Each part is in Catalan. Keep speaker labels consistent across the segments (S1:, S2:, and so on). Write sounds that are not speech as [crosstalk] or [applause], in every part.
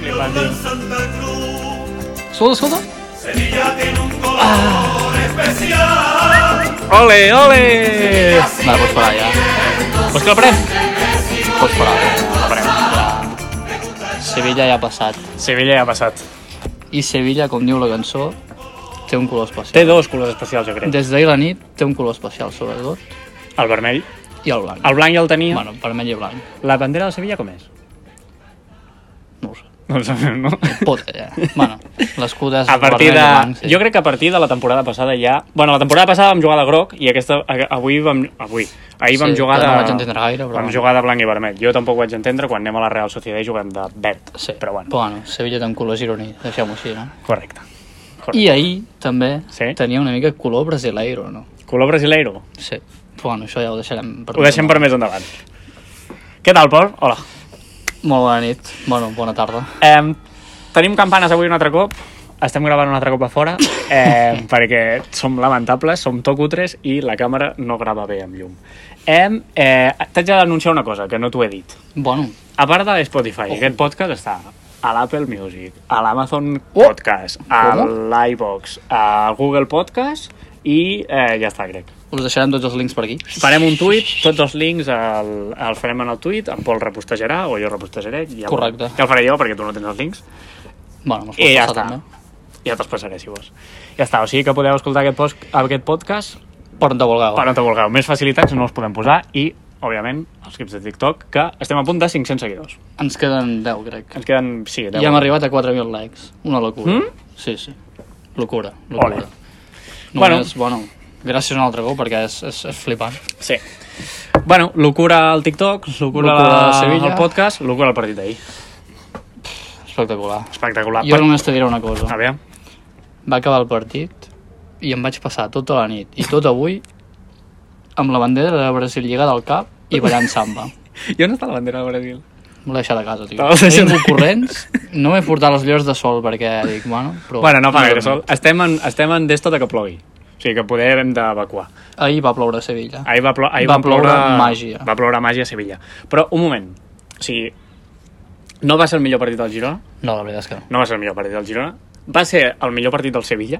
S1: Vale.
S2: Santa Cruz,
S3: Sola, sola.
S2: Sevilla tiene un color especial.
S1: Ole, ole!
S3: Vale,
S1: doncs
S3: pots parar ja.
S1: Vols que el prenc? Doncs
S3: Pots parar. Sevilla ja ha passat.
S1: Sevilla ja ha passat.
S3: I Sevilla, com diu la cançó, té un color especial.
S1: Té dos colors especials, jo crec.
S3: Des d'ahir a la nit té un color especial, sobretot,
S1: El vermell.
S3: i el blanc.
S1: El blanc ja el tenia.
S3: Bueno, vermell i blanc.
S1: La bandera de Sevilla com és?
S3: No ho sé.
S1: No ho sabem, no?
S3: Pota, ja. Bueno, l'escut és
S1: A partir de...
S3: vermell i blanc, sí.
S1: Jo crec que a partir de la temporada passada ja... Bueno, la temporada passada vam jugar de groc i aquesta... a- Avui vam... Avui. Ahir vam
S3: Sí,
S1: jugar
S3: jo
S1: de...
S3: no vaig entendre gaire, però
S1: Vam
S3: bueno.
S1: jugar de blanc i vermell. Jo tampoc ho vaig entendre quan anem a la Real Sociedad i juguem de verd.
S3: Sí,
S1: Però bueno,
S3: Però bueno, Sevilla té un color gironí, deixem-ho així, no?
S1: correcte.
S3: I ahir també
S1: Sí.
S3: tenia una mica color brasileiro, no?
S1: Color brasileiro.
S3: Sí. Però bueno, això ja ho deixarem per
S1: Ho deixem per més endavant. Què tal, Pol? Hola.
S3: Molt bona nit. Bueno, bona tarda.
S1: Eh, tenim campanes avui un altre cop. Estem gravant un altre cop a fora
S3: [laughs]
S1: eh, perquè som lamentables, som tocutres i la càmera no grava bé amb llum. Eh, eh, T'haig d'anunciar una cosa que no t'ho he dit.
S3: Bueno,
S1: A part de Spotify, oh. aquest podcast està a l'Apple Music, a l'Amazon Podcast, a
S3: Oh! Com?
S1: l'iVox, a Google Podcast i eh, ja està, crec.
S3: us deixarem tots els links per aquí.
S1: Farem un tuit, tots els links el, el farem en el tuit, en Pol repostejarà o jo repostejaré. Ja, ho-
S3: Correcte.
S1: Ja el faré jo perquè tu no tens els links.
S3: Bueno, mos
S1: I
S3: pots
S1: ja està.
S3: passar també.
S1: Ja te'ls passaré, si vols. Ja està, o sigui que podeu escoltar aquest, post, aquest podcast
S3: Per on te vulgueu.
S1: per on te vulgueu. Més facilitats no els podem posar i, òbviament, els clips de TikTok, que estem a punt de 500 seguidors.
S3: Ens queden 10, crec.
S1: Ens queden, sí, 10.
S3: I hem arribat a 4.000 likes. Una locura.
S1: Mm?
S3: Sí, sí. Locura, locura.
S1: Ole. Bueno.
S3: Només, bueno. gràcies un altre cop perquè és, és, és flipant.
S1: Sí. Bueno, locura al TikTok, locura,
S3: Locura
S1: locura
S3: a Sevilla.
S1: Sevilla. al podcast, locura al partit d'ahir.
S3: Espectacular.
S1: Espectacular. Ah.
S3: Jo només te diré una cosa.
S1: A veure,
S3: va acabar el partit i em vaig passar tota la nit i tot avui amb la bandera de Brasil lligada al cap i ballant samba.
S1: jo no està la bandera de Brasil.
S3: M'ho he deixat a casa, tio.
S1: Te l'has
S3: He
S1: deixat a-
S3: vingut corrents, no m'he portat els llors de sol perquè dic, bueno... Però
S1: Bueno, no fa gaire
S3: dormim.
S1: sol. Estem en, estem en d'esto de que plogui. O sigui que poder hem d'evacuar.
S3: Ahir va ploure a Sevilla.
S1: Ahir va, plo ahir
S3: Va
S1: van ploure,
S3: ploure màgia.
S1: Va ploure màgia a Sevilla. Però, un moment, o sigui, no va ser el millor partit del Girona,
S3: No, la veritat és que no.
S1: no va ser el millor partit del Girona, va ser el millor partit del Sevilla,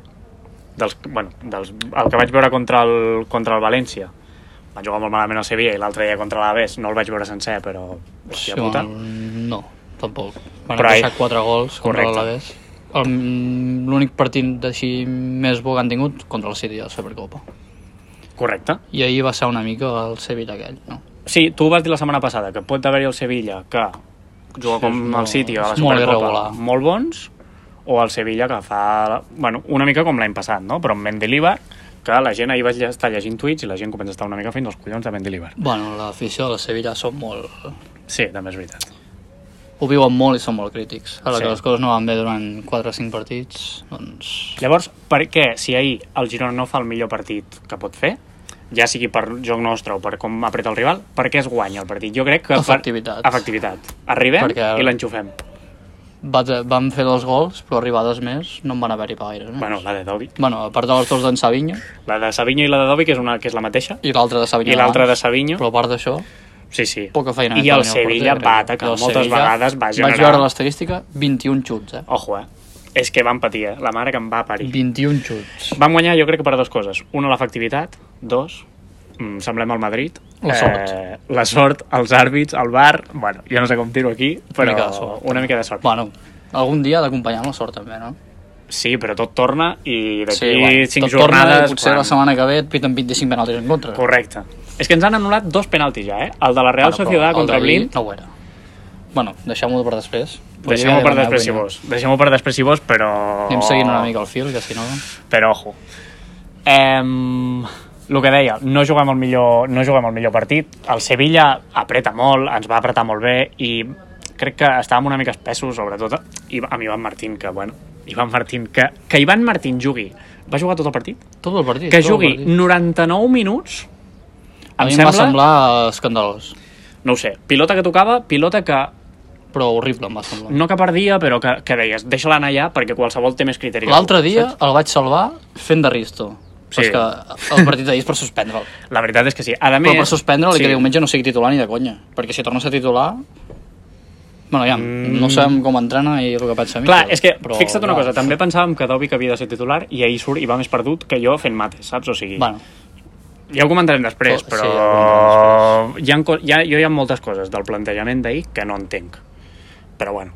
S1: dels, bueno, dels, el que vaig veure contra el, contra el València. Va jugar molt malament el Sevilla i l'altre dia contra l'Aves, no el vaig veure sencer, però... Hòstia puta.
S3: bueno, no, tampoc.
S1: Però
S3: Van però
S1: ahir-
S3: deixar 4 gols contra
S1: Correcte.
S3: l'Alavés. El- mm, L'únic partit d'així més bo que han tingut contra el City de la Supercopa.
S1: Correcte.
S3: I ahir va ser una mica el Sevilla aquell, no?
S1: Sí, tu ho vas dir la setmana passada, que pot haver-hi el Sevilla que juga
S3: Sí,
S1: com
S3: és molt-
S1: el City o a la
S3: és molt
S1: Supercopa
S3: irregular.
S1: molt bons, o el Sevilla que fa bueno, una mica com l'any passat, no? però amb Mendilibar, que la gent ahir vaig estar llegint tuits i la gent comença a estar una mica fins als collons de Mendilibar.
S3: Bueno, l'afició de la Sevilla són molt...
S1: Sí, també és veritat.
S3: Ho viuen molt i són molt crítics. Ara
S1: Sí.
S3: que les coses no van bé durant 4 o 5 partits, doncs...
S1: Llavors, per què si ahir el Girona no fa el millor partit que pot fer, ja sigui per joc nostre o per com apreta el rival, per què es guanya el partit? Jo crec que...
S3: Efectivitat.
S1: Per... Efectivitat. Arribem
S3: Perquè-
S1: i l'enxufem.
S3: Va, van fer dos gols, però arribades més no en van haver-hi pa gaire. Eh?
S1: Bueno, la de Dovi.
S3: bueno, a part de les dos d'en Savinho
S1: La de Savinho i la de Dovi, que és, una, que és la mateixa.
S3: i l'altra de Savinho
S1: I l'altra de
S3: abans,
S1: Savinho.
S3: Però a part d'això,
S1: Sí, sí.
S3: poca feina.
S1: I
S3: que
S1: el
S3: tenia
S1: Sevilla
S3: porter,
S1: va
S3: crec.
S1: atacar
S3: I el
S1: moltes
S3: Sevilla-
S1: vegades, va generar...
S3: Vaig veure l'estadística, 21 xuts, eh?
S1: Ojo, eh? És que van patir, eh? La mare que em va parir.
S3: 21 xuts.
S1: Vam guanyar, jo crec que per dues coses. Una, l'efectivitat. Dos, mm, semblem al Madrid.
S3: La sort.
S1: Eh, la sort, els àrbits, el bar... Bueno, jo no sé com tiro aquí, però
S3: mica de sort.
S1: una mica de sort.
S3: Bueno, algun dia ha d'acompanyar amb la sort també, no?
S1: Sí, però tot torna i d'aquí
S3: bueno,
S1: cinc
S3: tot torna i
S1: jornades...
S3: Potser
S1: quan-
S3: la setmana que ve et piten 25 penaltis en contra.
S1: Correcte. És que ens han anul·lat dos penaltis ja, eh? El de la Real
S3: Bueno, però
S1: Sociedad
S3: el
S1: contra
S3: d'ahir
S1: Blin
S3: No ho era. Bueno, deixem-ho per després. Vull dir
S1: Deixem-ho
S3: que
S1: per
S3: la meva
S1: després si
S3: opinió.
S1: vols. Oh. Deixem-ho per després si vols, però...
S3: Anem seguint una mica el fil, que si no...
S1: Però ojo. Em... El que deia, no juguem el millor, no juguem el millor partit. El Sevilla apreta molt, ens va apretar molt bé i crec que estàvem una mica espessos, sobretot i amb Ivan Martín, que bueno, Ivan Martín, que, que Ivan Martín jugui. Va jugar tot el partit?
S3: Tot el partit.
S1: Que
S3: tot el
S1: jugui
S3: partit.
S1: 99 minuts,
S3: A
S1: em
S3: mi em
S1: sembla...
S3: va semblar escandalós,
S1: No ho sé, pilota que tocava, pilota que
S3: però horrible em va semblar.
S1: no que perdia, però que, que deies, deixa-la anar allà perquè qualsevol té més criteri. que tu,
S3: L'altre dia
S1: saps?
S3: el vaig salvar fent de risto.
S1: Sí.
S3: Però és que el partit d'ahir és per suspendre'l.
S1: La veritat és que sí. A més...
S3: Però per suspendre'l i que diumenge no sigui titular ni de conya. Perquè si torna a ser titular... Bueno, ja, mm. no sabem com entrena i el que pensa a mi.
S1: Clar, és que, però, fixa't una cosa, també pensàvem que Dobic havia de ser titular i ahir surt i va més perdut que jo fent mates, saps? O sigui,
S3: Bueno,
S1: ja ho comentarem després,
S3: Sí,
S1: però
S3: ja ho
S1: hi ha, co- hi ha, jo hi ha moltes coses del plantejament d'ahir que no entenc. Però bueno,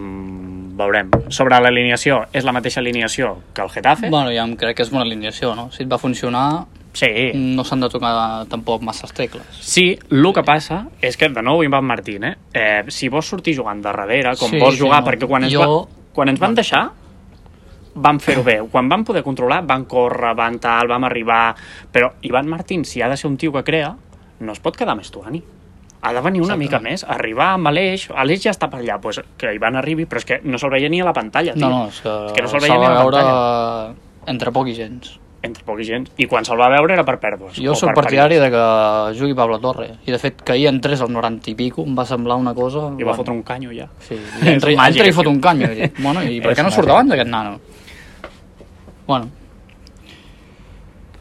S1: mm, veurem. Sobre l'alineació, és la mateixa alineació que el Getafe?
S3: bueno, ja em crec que és bona alineació, no? Si et va funcionar,
S1: Sí,
S3: no s'han de tocar tampoc massa els tecles.
S1: Sí, el que passa és que, de nou, Ivan Martín, eh? eh si vols sortir jugant de darrere, com
S3: Sí,
S1: sí, vols
S3: sí,
S1: jugar,
S3: no.
S1: perquè quan ens,
S3: Jo-
S1: va, quan ens van deixar, vam fer-ho bé. Quan vam poder controlar, van córrer, van tal, vam arribar... Però Ivan Martín, si ha de ser un tio que crea, no es pot quedar més tuani. Ha de venir una
S3: Exacte.
S1: mica més, arribar amb Aleix, Aleix ja està per allà, pues, que Ivan arribi, però és que no se'l veia ni a la pantalla, tio.
S3: No, no, és que,
S1: és que no se'l
S3: se'l
S1: veia ni a
S3: va
S1: la
S3: veure
S1: pantalla.
S3: entre poc i gens.
S1: Entre poc i gent. I quan se'l va veure era per pèrdues.
S3: Jo
S1: o
S3: sóc
S1: per
S3: partidari
S1: perills.
S3: de que jugui Pablo Torre. I de fet que ahir entrés al 90 i pico em va semblar una cosa...
S1: I va fotre un canyo, ja.
S3: Sí, i
S1: [laughs]
S3: entra,
S1: És màgic,
S3: entra i fot
S1: tio.
S3: un canyo. I dic, bueno, i
S1: [laughs]
S3: per
S1: És
S3: què no surt
S1: màgic.
S3: abans aquest nano? Bueno,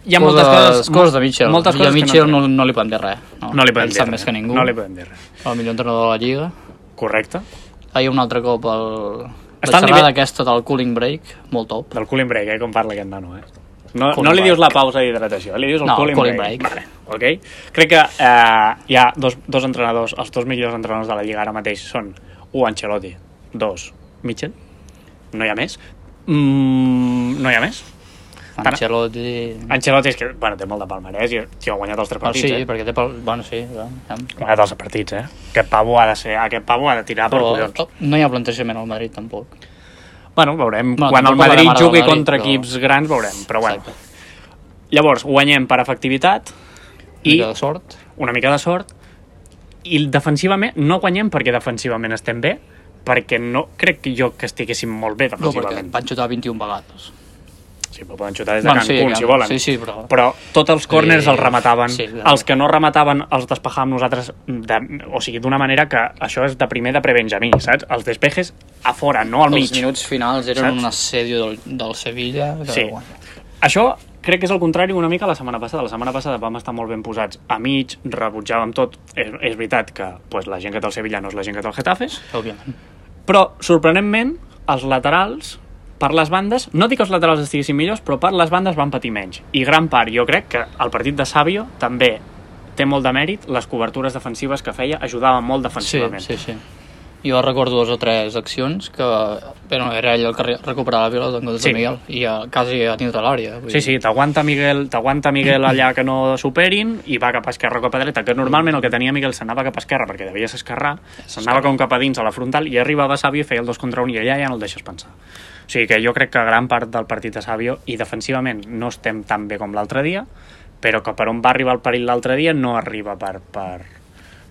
S1: Hi ha moltes coses...
S3: coses de Mitchell.
S1: Moltes
S3: I a
S1: coses que
S3: Mitchell
S1: entenem.
S3: no, no li podem dir res.
S1: No li podem
S3: Ell
S1: dir
S3: sap
S1: res.
S3: més que ningú.
S1: No li podem dir res.
S3: El millor entrenador de la Lliga.
S1: Correcte.
S3: Ahir un altre cop el...
S1: Està
S3: la
S1: al
S3: xerrada
S1: nivell-
S3: aquesta del cooling break, molt top.
S1: Del cooling break, eh, com parla aquest nano, eh? No,
S3: Cooling
S1: no li
S3: break.
S1: dius la pausa d'hidratació, li dius el
S3: No,
S1: cooling,
S3: cooling
S1: break.
S3: break.
S1: Vale, ok? Crec que eh, hi ha dos, dos entrenadors, els dos millors entrenadors de la Lliga ara mateix són un Ancelotti, dos Mitchell, no hi ha més. Mm, no hi ha més. Tant-
S3: Ancelotti...
S1: Ancelotti és que, bueno, té molt de palmarès i tio, ha guanyat els tres
S3: Ah,
S1: partits,
S3: sí,
S1: eh?
S3: perquè té... Pel... Bueno, sí, clar, ja.
S1: Ha guanyat els partits, eh? Aquest pavo ha de ser, aquest pavo ha de tirar per
S3: però
S1: collons.
S3: oh, no hi ha plantejament al Madrid tampoc.
S1: Bueno, veurem.
S3: Bueno,
S1: Quan el
S3: tampoc la
S1: Madrid
S3: mare del
S1: jugui
S3: Madrid,
S1: contra
S3: però-
S1: equips grans, veurem. Però bueno.
S3: Exacte.
S1: Llavors, guanyem per efectivitat
S3: I...
S1: i
S3: de sort.
S1: una mica de sort i defensivament no guanyem perquè defensivament estem bé perquè no crec que jo que estiguéssim molt bé
S3: No, perquè
S1: defensivament.
S3: van xutar 21 vegades.
S1: sí, però poden xutar des de bueno, Cancún,
S3: clar,
S1: si volen.
S3: Sí, sí, però...
S1: Però tots els corners
S3: Sí,
S1: els remataven.
S3: sí, clar.
S1: els que no remataven els despejàvem nosaltres, de, o sigui, d'una manera que això és de primer de prebenjamí, saps? Els despejes a fora, no al mig.
S3: els minuts finals eren
S1: Saps?
S3: un assedio del, del Sevilla. Que,
S1: Sí.
S3: bueno,
S1: Això crec que és el contrari una mica a la setmana passada. La setmana passada vam estar molt ben posats a mig, rebutjàvem tot. És, és veritat que pues, la gent que té el Sevilla no és la gent que té el Getafe,
S3: òbviament.
S1: però, sorprenentment, els laterals, per les bandes, no dic que els laterals estiguessin millors, però per les bandes van patir menys. I gran part, jo crec que el partit de Savio també té molt de mèrit, les cobertures defensives que feia ajudaven molt
S3: Sí,
S1: defensivament.
S3: sí, sí. Jo recordo dues o tres accions que bueno, era ell el que re- recuperava la pilota en comptes
S1: Sí.
S3: de Miguel i a, quasi a dintre de l'àrea. vull
S1: Sí,
S3: dir.
S1: sí, t'aguanta Miguel, t'aguanta Miguel allà que no superin i va cap a esquerra o cap a dreta, que normalment el que tenia Miguel s'anava cap a esquerra perquè devies esquerrar, s'anava com cap a dins a la frontal i arribava Sabio i feia el dos contra un i allà ja no el deixes pensar. O sigui que jo crec que gran part del partit de Sabio i defensivament no estem tan bé com l'altre dia, però que per on va arribar el perill l'altre dia no arriba per, per,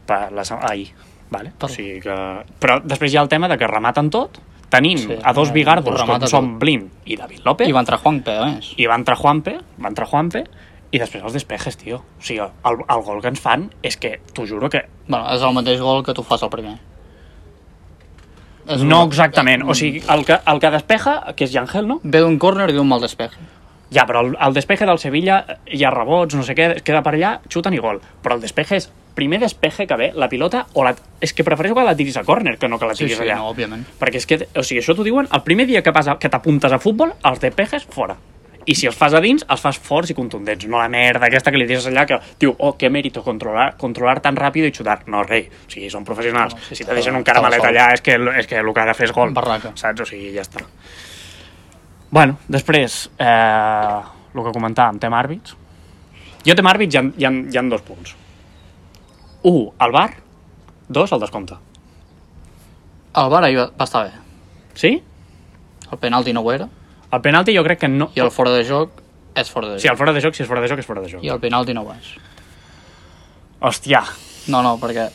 S1: per la, se- ahir. Vale? O
S3: Per-
S1: sigui que... Però després hi ha el tema de que rematen tot, tenint
S3: Sí,
S1: sí, a dos
S3: eh, ho
S1: bigardos
S3: remata
S1: com
S3: tot.
S1: són Blin i David López
S3: I va entrar Juanpe, a més.
S1: i va entrar Juanpe, va entrar Juanpe, i després els despejes, tio. O sigui, el, el gol que ens fan és que, t'ho juro que...
S3: Bueno, és el mateix gol que tu fas al primer. És
S1: No
S3: un-
S1: exactament, o sigui, el que, el que despeja, que és Yangel, no?
S3: Ve d'un córner i d'un mal despeje.
S1: Ja, però el, el despeje del Sevilla hi ha rebots, no sé què, es queda per allà, xuten i gol. Però el despeje és primer despeje que ve, la pilota, o la... És que prefereixo que la tiris a córner que no que la
S3: Sí,
S1: tiris
S3: sí,
S1: allà.
S3: no, òbviament.
S1: Perquè és que, o sigui, això t'ho diuen el primer dia que, vas a, que t'apuntes a futbol, els despejes fora. I si els fas a dins, els fas forts i contundents, no la merda aquesta que li dius allà que, tio, oh, que mèrito controlar, controlar tan ràpid i xutar. No, rei, o sigui, són professionals.
S3: No, sí,
S1: si
S3: està-
S1: te deixen un
S3: està
S1: caramelet
S3: sol.
S1: allà és que, és que el que ha de fer és gol.
S3: Barraca.
S1: Saps? O sigui, ja està. Bueno, després, eh, el que comentàvem, tema àrbits. Jo tema àrbits hi ha, hi ha, hi ha dos punts. Un, el bar. Dos, el descompte.
S3: El VAR ahir va va estar bé.
S1: Sí?
S3: El penalti no ho era.
S1: El penalti jo crec que no...
S3: I el fora de joc és fora de
S1: Sí,
S3: joc.
S1: el fora de joc, si és fora de joc, és fora de joc.
S3: I el penalti no ho és.
S1: Hòstia.
S3: No, no, perquè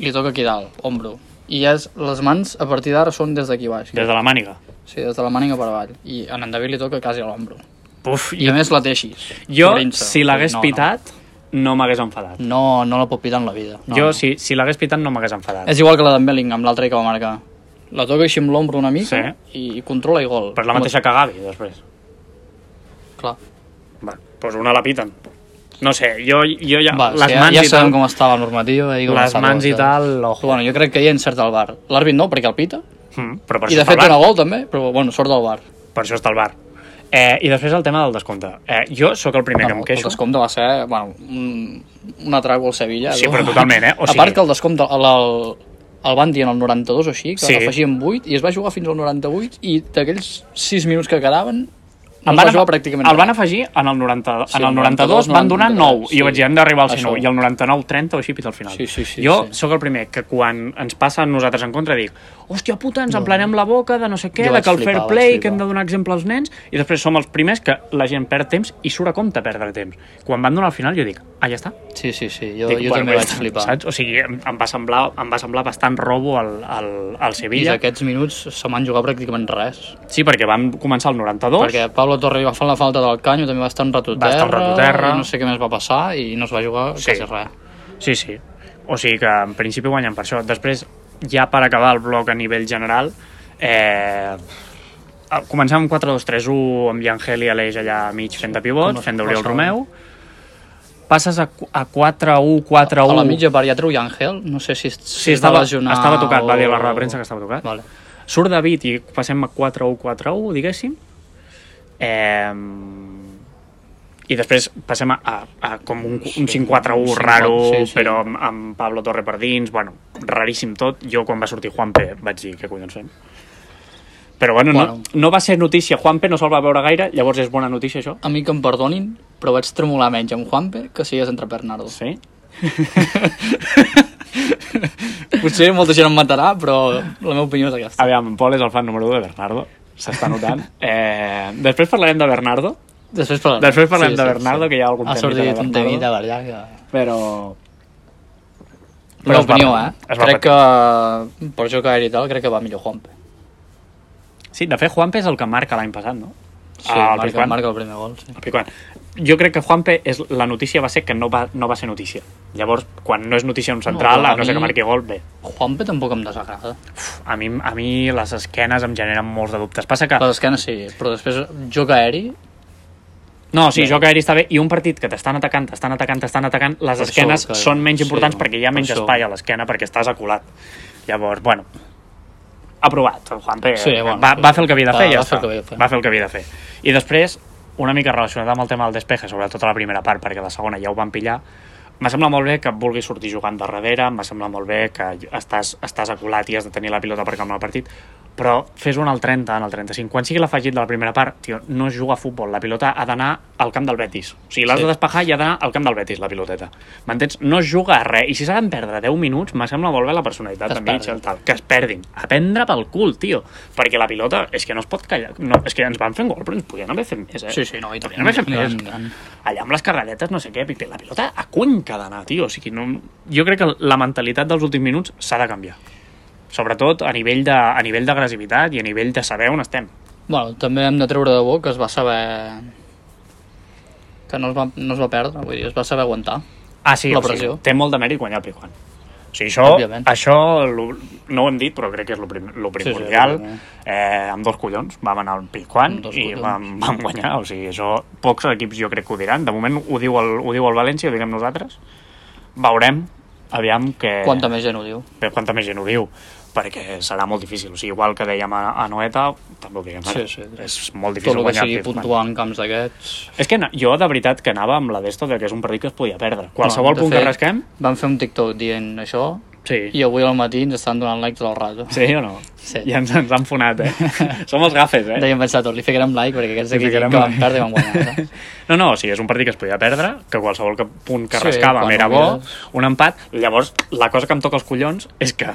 S3: li toca aquí dalt, ombro. I és, les mans a partir d'ara són des d'aquí baix.
S1: Des de la màniga.
S3: Sí, des de la màniga per avall. I a en David li toca quasi a l'ombro.
S1: Puf,
S3: I a més la té així.
S1: jo,
S3: obrint-se.
S1: si l'hagués
S3: no,
S1: pitat, no m'hagués enfadat.
S3: No, no, no la pot pitar en la vida. No.
S1: Jo, si, si l'hagués pitat, no m'hagués enfadat.
S3: És igual que la d'en Bellingham, l'altra que va marcar. La toca així amb l'ombro una mica
S1: Sí.
S3: i, i controla i gol.
S1: Però és la mateixa que Gavi, després.
S3: Clar.
S1: Va, doncs una la piten. No sé, jo, jo ja...
S3: Va,
S1: les
S3: sí, ja,
S1: mans
S3: ja
S1: i
S3: sabem
S1: tal,
S3: com estava la normativa i com
S1: les
S3: estava
S1: mans i
S3: tot.
S1: tal
S3: Però,
S1: ojo.
S3: bueno, jo crec que hi ha encert al bar. L'àrbit no, perquè el pita.
S1: Mm, però per
S3: I
S1: això
S3: de fet
S1: està el
S3: dona
S1: bar.
S3: gol també, però bueno, sort del bar.
S1: Per això està el bar. Eh, I després el tema del descompte. Eh, jo sóc el primer que em
S3: Bueno, el
S1: queixo.
S3: descompte va ser bueno, un, un atrago al Sevilla.
S1: Sí,
S3: no?
S1: però totalment, eh? O
S3: a
S1: sigui-
S3: part que el descompte el, el, el van dir en el 92 o així, que
S1: Sí.
S3: sí. afegien 8 i es va jugar fins al 98 i d'aquells 6 minuts que quedaven no
S1: El
S3: es va
S1: van,
S3: jugar pràcticament
S1: el van
S3: res.
S1: afegir en el, 90,
S3: Sí,
S1: en el 92,
S3: 92,
S1: van donar 9 i
S3: sí.
S1: jo vaig dir hem d'arribar al 100
S3: Això.
S1: i el 99, 30 o així fins al final.
S3: Sí, sí, sí,
S1: jo
S3: sí.
S1: sóc el primer que quan ens passa a nosaltres en contra dic hòstia puta, ens emplenem la boca de no sé què, de
S3: Jo vaig
S1: que el
S3: flipar,
S1: fair
S3: vaig
S1: play,
S3: flipar.
S1: que hem de donar exemple als nens i després som els primers que la gent perd temps i surt a compte perdre temps. Quan van donar al final jo dic, ah, ja està.
S3: Sí, sí, sí, jo,
S1: Dic,
S3: jo
S1: "Bueno,
S3: també
S1: ja
S3: vaig
S1: està",
S3: flipar.
S1: Saps? O sigui, em, em, va semblar, em va semblar bastant robo al, al, al
S3: I
S1: Sevilla.
S3: d'aquests minuts se m'han jugat pràcticament res.
S1: Sí, perquè van començar el 92.
S3: Perquè Pablo Torre va fer la falta del Canyo, també va estar en
S1: Va estar en
S3: ratoterra,
S1: ratoterra.
S3: i no sé què més va passar, i no es va jugar
S1: Sí.
S3: quasi res.
S1: Sí, sí. O sigui que en principi guanyen per això. Després, ja per acabar el bloc a nivell general, eh, començar amb 4-2-3-1 amb Llangel i Aleix allà a mig fent de pivot,
S3: com es-
S1: fent d'Oriol
S3: passava.
S1: Romeu. Passes a, qu- a
S3: A la
S1: 4-1-4-1.
S3: mitja part ja treu Ángel, no sé si, es- si
S1: Sí,
S3: es va
S1: estava,
S3: lesionar
S1: estava tocat, va dir a la
S3: o-
S1: roda de premsa que estava tocat.
S3: Vale.
S1: Surt David i passem a 4-1-4-1, diguéssim. Eh, I després passem a, a, a com un, un 5-4-1
S3: cinc-
S1: raro,
S3: sí,
S1: sí,
S3: sí.
S1: sí. però amb, amb Pablo Torre per dins, bueno, raríssim tot. Jo quan va sortir Juanpe vaig dir, què collons fem? Però bueno,
S3: Bueno.
S1: No, no va ser notícia, Juanpe no se'l va veure gaire, llavors és bona notícia això?
S3: A mi que em perdonin, però vaig tremolar menys amb Juanpe que si és entre Bernardo.
S1: Sí?
S3: [laughs] Potser molta gent em matarà, però la meva opinió és aquesta.
S1: Aviam, en Pol és el fan número 1 de Bernardo, s'està [laughs] notant. eh, després parlarem de Bernardo,
S3: Després parlarem,
S1: Després parlem de Bernardo, que hi ha algun
S3: ha
S1: temita de
S3: sortit un
S1: Bernardo.
S3: temita per allà que...
S1: però...
S3: La
S1: es
S3: meva
S1: va-
S3: opinió, eh?
S1: es va
S3: Crec que, eh, per jocar i tal, crec que va millor Juanpe.
S1: Sí, de fet, Juanpe és el que marca l'any passat, no?
S3: Sí,
S1: Ah, el
S3: marca,
S1: Piquant.
S3: marca el primer gol, sí.
S1: El Piquant. Jo crec que Juanpe, és, la notícia va ser que no va, no va ser notícia. Llavors, quan no és notícia un central,
S3: No, però
S1: no,
S3: a
S1: a no ser
S3: mi-
S1: que marqui gol, bé.
S3: Juanpe tampoc em desagrada.
S1: Uf, A mi, a mi les esquenes em generen molts de dubtes. Passa que...
S3: Les esquenes sí, però després joc aeri,
S1: No, sí, joc aeri està bé, i un partit que t'estan atacant, t'estan atacant, t'estan atacant, les
S3: Per això
S1: esquenes
S3: que-
S1: són menys
S3: sí,
S1: importants perquè hi ha
S3: per
S1: menys
S3: això.
S1: espai a l'esquena, perquè estàs aculat. Llavors, bueno, aprovat. El Juanpe
S3: Sí, bueno,
S1: va,
S3: sí.
S1: va fer el que havia de
S3: Va-
S1: fer, i ja
S3: va fer
S1: està.
S3: el que havia de fer.
S1: Va fer el que havia de fer. I després, una mica relacionat amb el tema del despeje, sobretot a la primera part, perquè la segona ja ho van pillar, M'ha semblat molt bé que vulguis sortir jugant de darrere, m'ha semblat molt bé que estàs, estàs aculat i has de tenir la pilota per calmar el partit, però fes un al 30, en el 35. Quan sigui l'afegit de la primera part, tio, no es juga a futbol. La pilota ha d'anar al camp del Betis. O sigui, l'has
S3: Sí.
S1: de despejar i ha d'anar al camp del Betis, la piloteta. M'entens? No es juga a res. I si s'han de perdre 10 minuts, m'ha semblat molt bé la personalitat
S3: Que es
S1: de Mitchell,
S3: perdin.
S1: tal. Que es perdin. A prendre pel cul, tio. Perquè la pilota és que no es pot callar. No, és que ens van fent gol, però ens podien haver fet més, eh?
S3: Sí, sí, no, i tant.
S1: Podien haver fet
S3: I tant,
S1: més
S3: i tant.
S1: allà amb les carreretes, no sé què, pipi, la pilota a cony que ha d'anar, tio. O sigui, no... Jo crec que la mentalitat dels últims minuts s'ha de canviar. Sobretot a nivell de- a nivell d'agressivitat i a nivell de saber on estem.
S3: Bueno, també hem de treure de bo que es va saber que no es va, no es va perdre, vull dir, es va saber aguantar.
S1: Ah, sí,
S3: La
S1: o sigui,
S3: pressió.
S1: té molt de mèrit guanyar el Pijuan. O sigui, això,
S3: Òbviament.
S1: això lo, no ho hem dit, però crec que és lo, prim, lo
S3: sí,
S1: primordial.
S3: òbviament.
S1: eh, amb dos collons vam anar al Pijuan
S3: Amb dos
S1: i
S3: collons.
S1: vam, vam guanyar. O sigui, això pocs equips jo crec que ho diran. De moment ho diu el, ho diu el València, ho direm nosaltres. Veurem, aviam que...
S3: Eh. Quanta més gent ho diu.
S1: però quanta més gent ho diu perquè serà molt difícil, o sigui, igual que dèiem a, a Noeta, també ho diguem ara.
S3: Sí, sí.
S1: és molt
S3: Tot
S1: difícil
S3: el que
S1: guanyar
S3: sigui
S1: Pittsburgh.
S3: puntuar en camps d'aquests...
S1: és que na- jo de veritat que anava amb la d'esto de que és un partit que es podia perdre qualsevol
S3: de
S1: punt
S3: fet,
S1: que rasquem
S3: Vam fer un TikTok dient això
S1: sí.
S3: i avui al matí ens estan donant like tot el rato.
S1: sí o no?
S3: Sí.
S1: ja ens, ens han fonat eh? som els gafes eh?
S3: Dèiem pensar tots, li ficarem like perquè aquests d'aquí que
S1: ficarem
S3: van
S1: like.
S3: perdre i van guanyar. eh?"
S1: [laughs]
S3: saps?
S1: No, no, o sigui, és un partit que es podia perdre, que qualsevol que punt que
S3: Sí,
S1: sí, rascàvem
S3: quan
S1: era
S3: ho
S1: bo,
S3: mires.
S1: un empat, llavors la cosa que em toca els collons és que,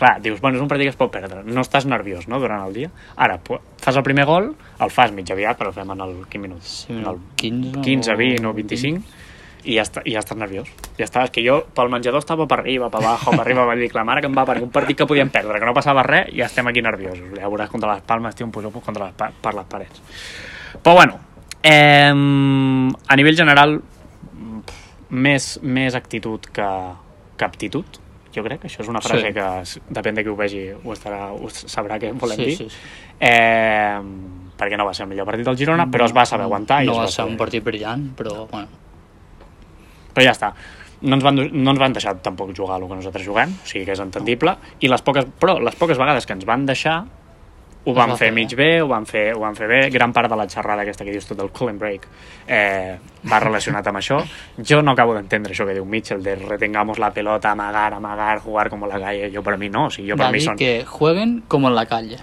S1: clar, dius, bueno, és un partit que es pot perdre, no estàs nerviós, no?, durant el dia. Ara, pu- fas el primer gol, el fas mig aviat, però fem en el quin minut?
S3: Sí,
S1: en el
S3: 15,
S1: 15, 20 o 25, i ja, està, i ja estàs nerviós. Ja està, és que jo pel menjador estava per arriba, per baix, per arriba, vaig dir que la mare que em va per un partit que podíem perdre, que no passava res, i ja estem aquí nerviosos. Ja veuràs contra les palmes, tio, em poso contra les, pa- per les parets. Però bueno, eh, a nivell general, mm, pf, més, més actitud que, que aptitud, jo crec. Això és una frase
S3: Sí.
S1: sí. que, s- depèn de qui ho vegi, ho, estarà, ho s- sabrà què volem
S3: Sí,
S1: dir.
S3: sí, sí.
S1: Eh, perquè no va ser el millor partit del Girona, però es va saber aguantar. i
S3: no
S1: es
S3: va
S1: va
S3: ser un
S1: saber-
S3: partit brillant, però bueno,
S1: Però ja està. No ens, van, no ens van deixar tampoc jugar el que nosaltres juguem, o sigui que és entendible, i les poques, però les poques vegades que ens van deixar ho
S3: va
S1: van fer
S3: fer
S1: mig bé, ho van fer, ho van fer bé. Gran part de la xerrada aquesta que dius tu del cool and break eh, va relacionat amb això. Jo no acabo d'entendre això que diu Mitchell de retengamos la pelota, amagar, amagar, jugar com la gaia. Jo per mi no, o sigui, jo per
S3: Va
S1: mi
S3: dir
S1: són...
S3: que jueguen com en la calle.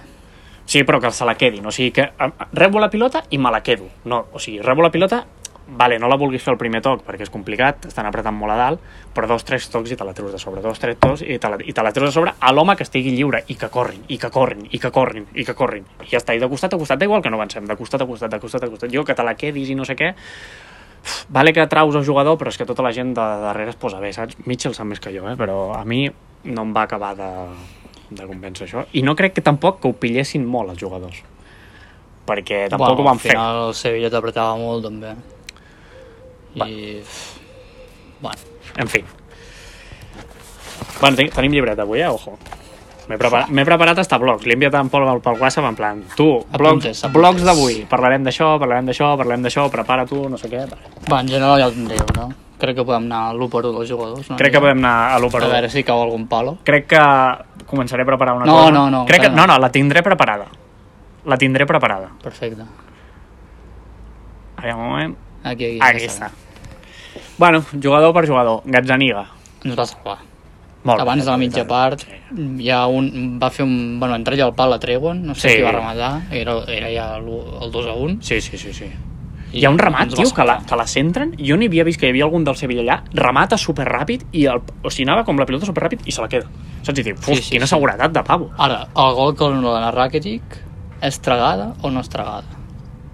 S1: Sí, però que se la quedin. O sigui, que eh, rebo la pilota i me la quedo. No, o sigui, rebo la pilota, vale, no la vulguis fer el primer toc perquè és complicat, estan apretant molt a dalt, però dos, tres tocs i te la treus de sobre, dos, tres tocs i te la, i te la treus de sobre a l'home que estigui lliure i que corrin, i que corrin, i que corrin, i que corrin. I ja està, i de costat a costat, da igual que no avancem, de costat a costat, de costat a costat. Jo que te la quedis i no sé què, uf, vale que traus el jugador, però és que tota la gent de darrere es posa bé, saps? Mitchell sap més que jo, eh? però a mi no em va acabar de, de convèncer això. I no crec que tampoc que ho pillessin molt els jugadors, perquè tampoc
S3: Bueno,
S1: ho van
S3: al
S1: fer.
S3: final el Sevilla t'apretava molt, també. I... Bueno,
S1: En fi. Bueno, ten tenim llibret avui, eh? Ojo. M'he preparat, m'he preparat hasta blocs. L'he enviat en Pol pel WhatsApp en plan, tu, blocs,
S3: Apuntes, apuntes.
S1: blocs d'avui. Parlarem d'això, parlarem d'això, parlem d'això, prepara tu, no sé què. Vale.
S3: va, en general ja ho tindríeu, no? Crec que podem anar a l'1 per 1 dels jugadors. Una
S1: Crec que
S3: mica.
S1: podem anar a l'1 per
S3: A
S1: 1.
S3: veure si cau algun palo.
S1: crec que començaré a preparar una
S3: No,
S1: cosa.
S3: no, no,
S1: Crec que, no,
S3: encara no.
S1: no, la tindré preparada. La tindré preparada.
S3: Perfecte.
S1: Aviam, un moment.
S3: Aquí, aquí.
S1: Aquí
S3: ja
S1: està. Bueno, jugador per jugador. Gazzaniga.
S3: Ens va salvar.
S1: Molt
S3: Abans de la mitja part,
S1: Sí.
S3: ja un, va fer un... Bueno, entrar ja al pal a Trevon, no sé
S1: Sí.
S3: sí. qui va rematar, era, era ja el, el 2 a 1.
S1: Sí, sí, sí, sí. Hi ha un remat, tio, que la, que la centren. Jo n'hi havia vist que hi havia algun del Sevilla allà, remata superràpid i el, o sigui, anava com la pilota superràpid i se la queda. Saps? I dic, uf,
S3: Sí, sí,
S1: quina
S3: sí.
S1: seguretat de pavo.
S3: Ara, el gol que no dona Rakitic és tragada o no és tragada?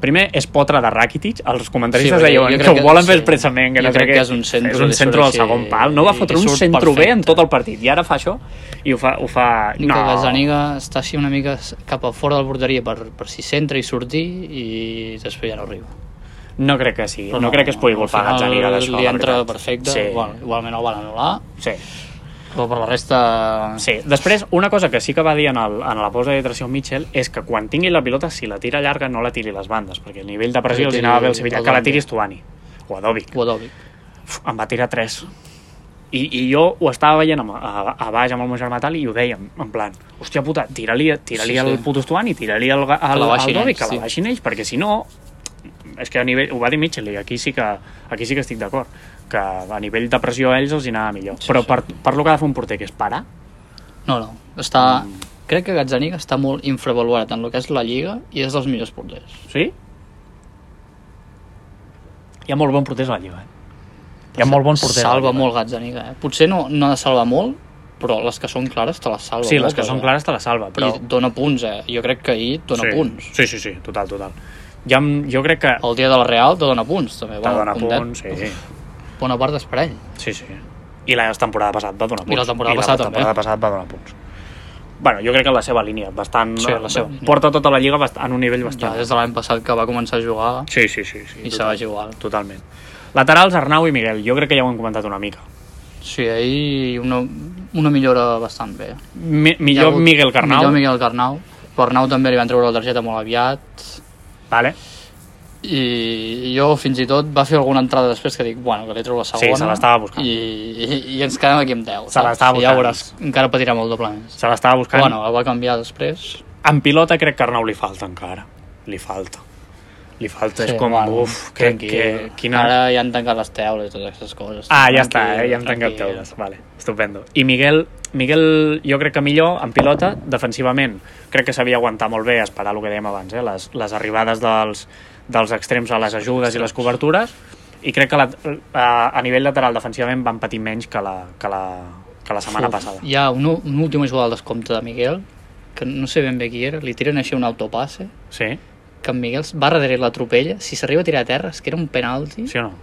S1: Primer, és potre de Rakitic, els comentaristes
S3: Sí,
S1: sí,
S3: perquè
S1: deiuen
S3: jo
S1: que
S3: crec
S1: ho
S3: que-
S1: volen fer
S3: sí.
S1: expressament, que
S3: Jo
S1: no
S3: crec
S1: sé
S3: que
S1: què.
S3: és un centre,
S1: és un
S3: li surt
S1: centre del
S3: així,
S1: segon pal. No va
S3: i
S1: fotre
S3: li
S1: un
S3: surt
S1: centre perfecte. bé en
S3: perfecte.
S1: tot el partit, i ara fa això, i ho fa... Ho fa...
S3: No. Que Gazzaniga està així una mica cap a fora de la porteria per, per si centra i sortir i després ja no arriba.
S1: no crec que sí, no, crec que es pugui
S3: al
S1: culpar
S3: final
S1: Gazzaniga d'això,
S3: Li
S1: la
S3: entra
S1: veritat.
S3: perfecte,
S1: Sí,
S3: sí. bueno, igualment el van anul·lar,
S1: sí.
S3: però per la resta...
S1: Sí, després, una cosa que sí que va dir en, el, en la pausa de d'hidratació Mitchell és que quan tingui la pilota, si la tira llarga, no la tiri a les bandes, perquè el nivell de pressió
S3: Que
S1: els
S3: tiri
S1: anava bé al Sevilla.
S3: a
S1: Que la
S3: Dobi.
S1: tiris Tuani o Adobi.
S3: Guadovic.
S1: Uf, em va tirar 3. I, I jo ho estava veient amb, a, a baix amb el meu germà tal i ho dèiem, en plan, hòstia puta, tira-li tira
S3: Sí,
S1: sí,
S3: sí.
S1: el puto Estuani, tira-li el, ga-
S3: Que
S1: el,
S3: la baixin
S1: el Dobi,
S3: ells,
S1: que
S3: sí.
S1: la baixin ells, perquè si no, és que a nivell, ho va dir Mitchell i aquí sí que, aquí sí que estic d'acord, que a nivell de pressió a ells els hi anava millor.
S3: Sí,
S1: Però
S3: sí.
S1: per, per lo que ha de fer un porter, que és parar,
S3: No, no, està...
S1: Mm.
S3: Crec que Gazzaniga està molt infravalorat en el que és la Lliga i és dels millors porters.
S1: Sí? Hi ha molt bon porters a la Lliga, eh? Hi ha molt bon porter. a la
S3: Salva
S1: Lliga.
S3: molt Gazzaniga, eh? Potser no, no ha de salvar molt, però les que són clares te les salva
S1: Sí, les
S3: moltes,
S1: que són
S3: eh?
S1: clares te la salva, però...
S3: I dona punts, eh? Jo crec que ahir et dona
S1: sí.
S3: punts.
S1: Sí, sí, sí, total, total. Ja, em- jo crec que...
S3: El dia de la Real te dona punts, també.
S1: Te
S3: Bueno,
S1: dona
S3: puntet,
S1: punts, sí, sí.
S3: Bona part és per ell.
S1: Sí, sí. I la temporada passada va donar punts.
S3: I la temporada passada
S1: la
S3: també.
S1: temporada passada va donar punts. Bueno, jo crec que la seva línia, bastant...
S3: Sí, la seva línia.
S1: Porta tota la Lliga bast- en un nivell
S3: Ja
S1: bastant...
S3: des de l'any passat que va començar a jugar
S1: Sí, sí, sí. sí
S3: i se va jugar.
S1: Totalment. Laterals, Arnau i Miguel. Jo crec que ja ho hem comentat una mica.
S3: Sí, ahir una, una millora bastant bé.
S1: Mi
S3: Hi ha
S1: millor
S3: hagut-
S1: Miguel Carnau.
S3: Millor Miguel Carnau. Però Arnau també li van treure la targeta molt aviat.
S1: Vale.
S3: i jo fins i tot va fer alguna entrada després que dic, bueno, que li treu la segona
S1: Sí, se l'estava buscant.
S3: i, i, i ens quedem aquí amb 10
S1: Se l'estava
S3: ja
S1: buscant.
S3: veuràs, encara patirà molt doble més
S1: Se l'estava buscant.
S3: bueno, el va canviar després
S1: En pilota crec que a Arnau li falta encara. Li falta. Li falta, és com,
S3: bueno,
S1: uf, que,
S3: tranquil.
S1: que, quina...
S3: ara ja han tancat les teules totes aquestes coses
S1: Ah, ja està,
S3: Tranquil,
S1: eh? ja hem tancat
S3: tranquil.
S1: teules. Vale, estupendo. I Miguel, Miguel jo crec que millor en pilota, defensivament. Crec que sabia aguantar molt bé, esperar el que dèiem abans, eh? les, les arribades dels, dels extrems a les ajudes i les cobertures, i crec que la, a, a nivell lateral defensivament van patir menys que la, que la, que la setmana
S3: Uf,
S1: passada.
S3: hi ha un, un últim jugada al descompte de Miguel que no sé ben bé qui era, li tiren així un autopasse
S1: Sí?
S3: que en Miguel va darrere la tropella si s'arriba a tirar a terra, és que era un penalti
S1: Sí o no?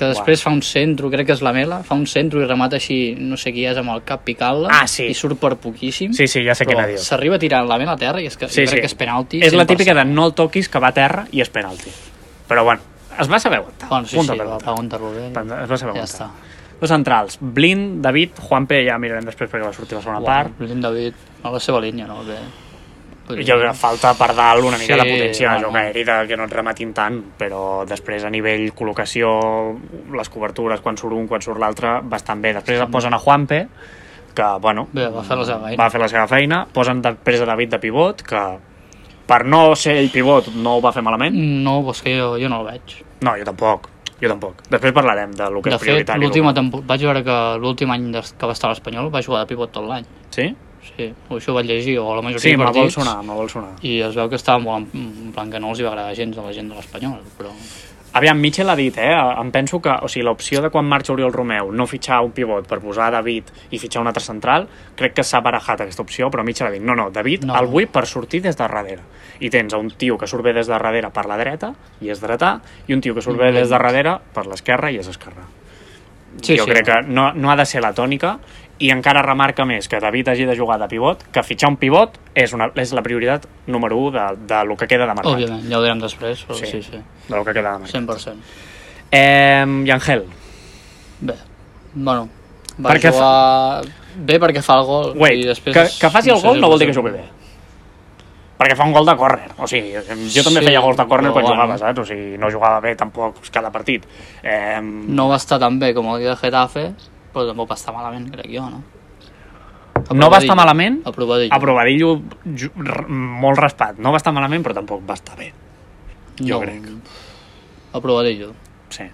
S3: que després fa un centro, crec que és la Mela, fa un centro i remata així, no sé qui és, amb el cap picant-la,
S1: Ah, sí.
S3: i surt per poquíssim.
S1: Sí, sí, ja sé quina
S3: però
S1: dius.
S3: s'arriba tirant la Mela a terra i és que sí, crec sí. que és penalti.
S1: És la
S3: 100%.
S1: típica de no el toquis, que va a terra i és penalti. Però bueno, es va saber aguantar.
S3: Bueno, sí,
S1: Punt
S3: sí,
S1: de
S3: va
S1: pelota.
S3: aguantar-lo bé.
S1: Es va saber
S3: Ja
S1: aguantar.
S3: està.
S1: Dos centrals, Blind, David, Juanpe, ja mirarem després perquè va sortir la segona
S3: Bueno,
S1: part.
S3: Blin David, a la seva línia, no? Bé. Però...
S1: Jo crec que falta per dalt una mica
S3: Sí,
S1: de potència de
S3: bueno.
S1: joc aeri, de que no et rematin tant, però després a nivell col·locació, les cobertures, quan surt un, quan surt l'altre, bastant bé. Després et posen a Juanpe, que, bueno,
S3: Bé, va fer la seva feina.
S1: va fer la seva feina, posen després a David de pivot, que per no ser ell pivot no ho va fer malament.
S3: No, però és que jo, jo no el veig.
S1: No, jo tampoc, jo tampoc. Després parlarem de lo que
S3: De
S1: és
S3: fet,
S1: prioritari.
S3: l'última temporada... Vaig veure que l'últim any des que va estar a l'Espanyol va jugar de pivot tot l'any.
S1: Sí?
S3: Sí, o això ho vaig llegir, o la majoria
S1: Sí,
S3: de
S1: me vol
S3: partits.
S1: sonar, me vol sonar.
S3: I es veu que estava molt... En, en plan que no els hi va agradar gens a la gent de l'Espanyol, però...
S1: Aviam, Mitchell ha dit, eh? Em penso que, o sigui, l'opció de quan marxa Oriol Romeu no fitxar un pivot per posar David i fitxar un altre central, crec que s'ha barajat aquesta opció, però Mitchell ha dit, no, no, David
S3: No.
S1: no. el vull per sortir des de darrere. I tens a un tio que surt bé des de darrere per la dreta, i és dretà, i un tio que surt bé des de darrere per l'esquerra, i és esquerrà.
S3: Sí,
S1: jo
S3: sí,
S1: crec que no, no ha de ser la tònica, i encara remarca més que David hagi de jugar de pivot, que fitxar un pivot és, una, és la prioritat número 1 de, de lo que queda de mercat.
S3: Òbviament, ja ho direm després, però
S1: Sí.
S3: sí, sí,
S1: De lo que queda de mercat.
S3: 100%.
S1: Eh, I Angel,
S3: Bé, bueno, va
S1: Perquè
S3: perquè
S1: fa-
S3: jugar... Bé perquè fa el gol
S1: Wait,
S3: i després...
S1: que, que faci el
S3: sé
S1: gol
S3: si
S1: no vol dir que
S3: és un-
S1: jugui bé. Perquè fa un gol de córner. O sigui, jo també
S3: Sí,
S1: feia gols de córner
S3: però
S1: quan
S3: bueno.
S1: jugava, saps? O sigui, no jugava bé tampoc cada partit. Eh,
S3: No va estar tan bé com el dia de Getafe, però tampoc va estar malament, crec jo, no?
S1: No va estar malament?
S3: Aprovadillo.
S1: Aprovadillo ju- r- molt raspat. No va estar malament, però tampoc va estar bé. jo crec.
S3: Aprovadillo.
S1: Sí.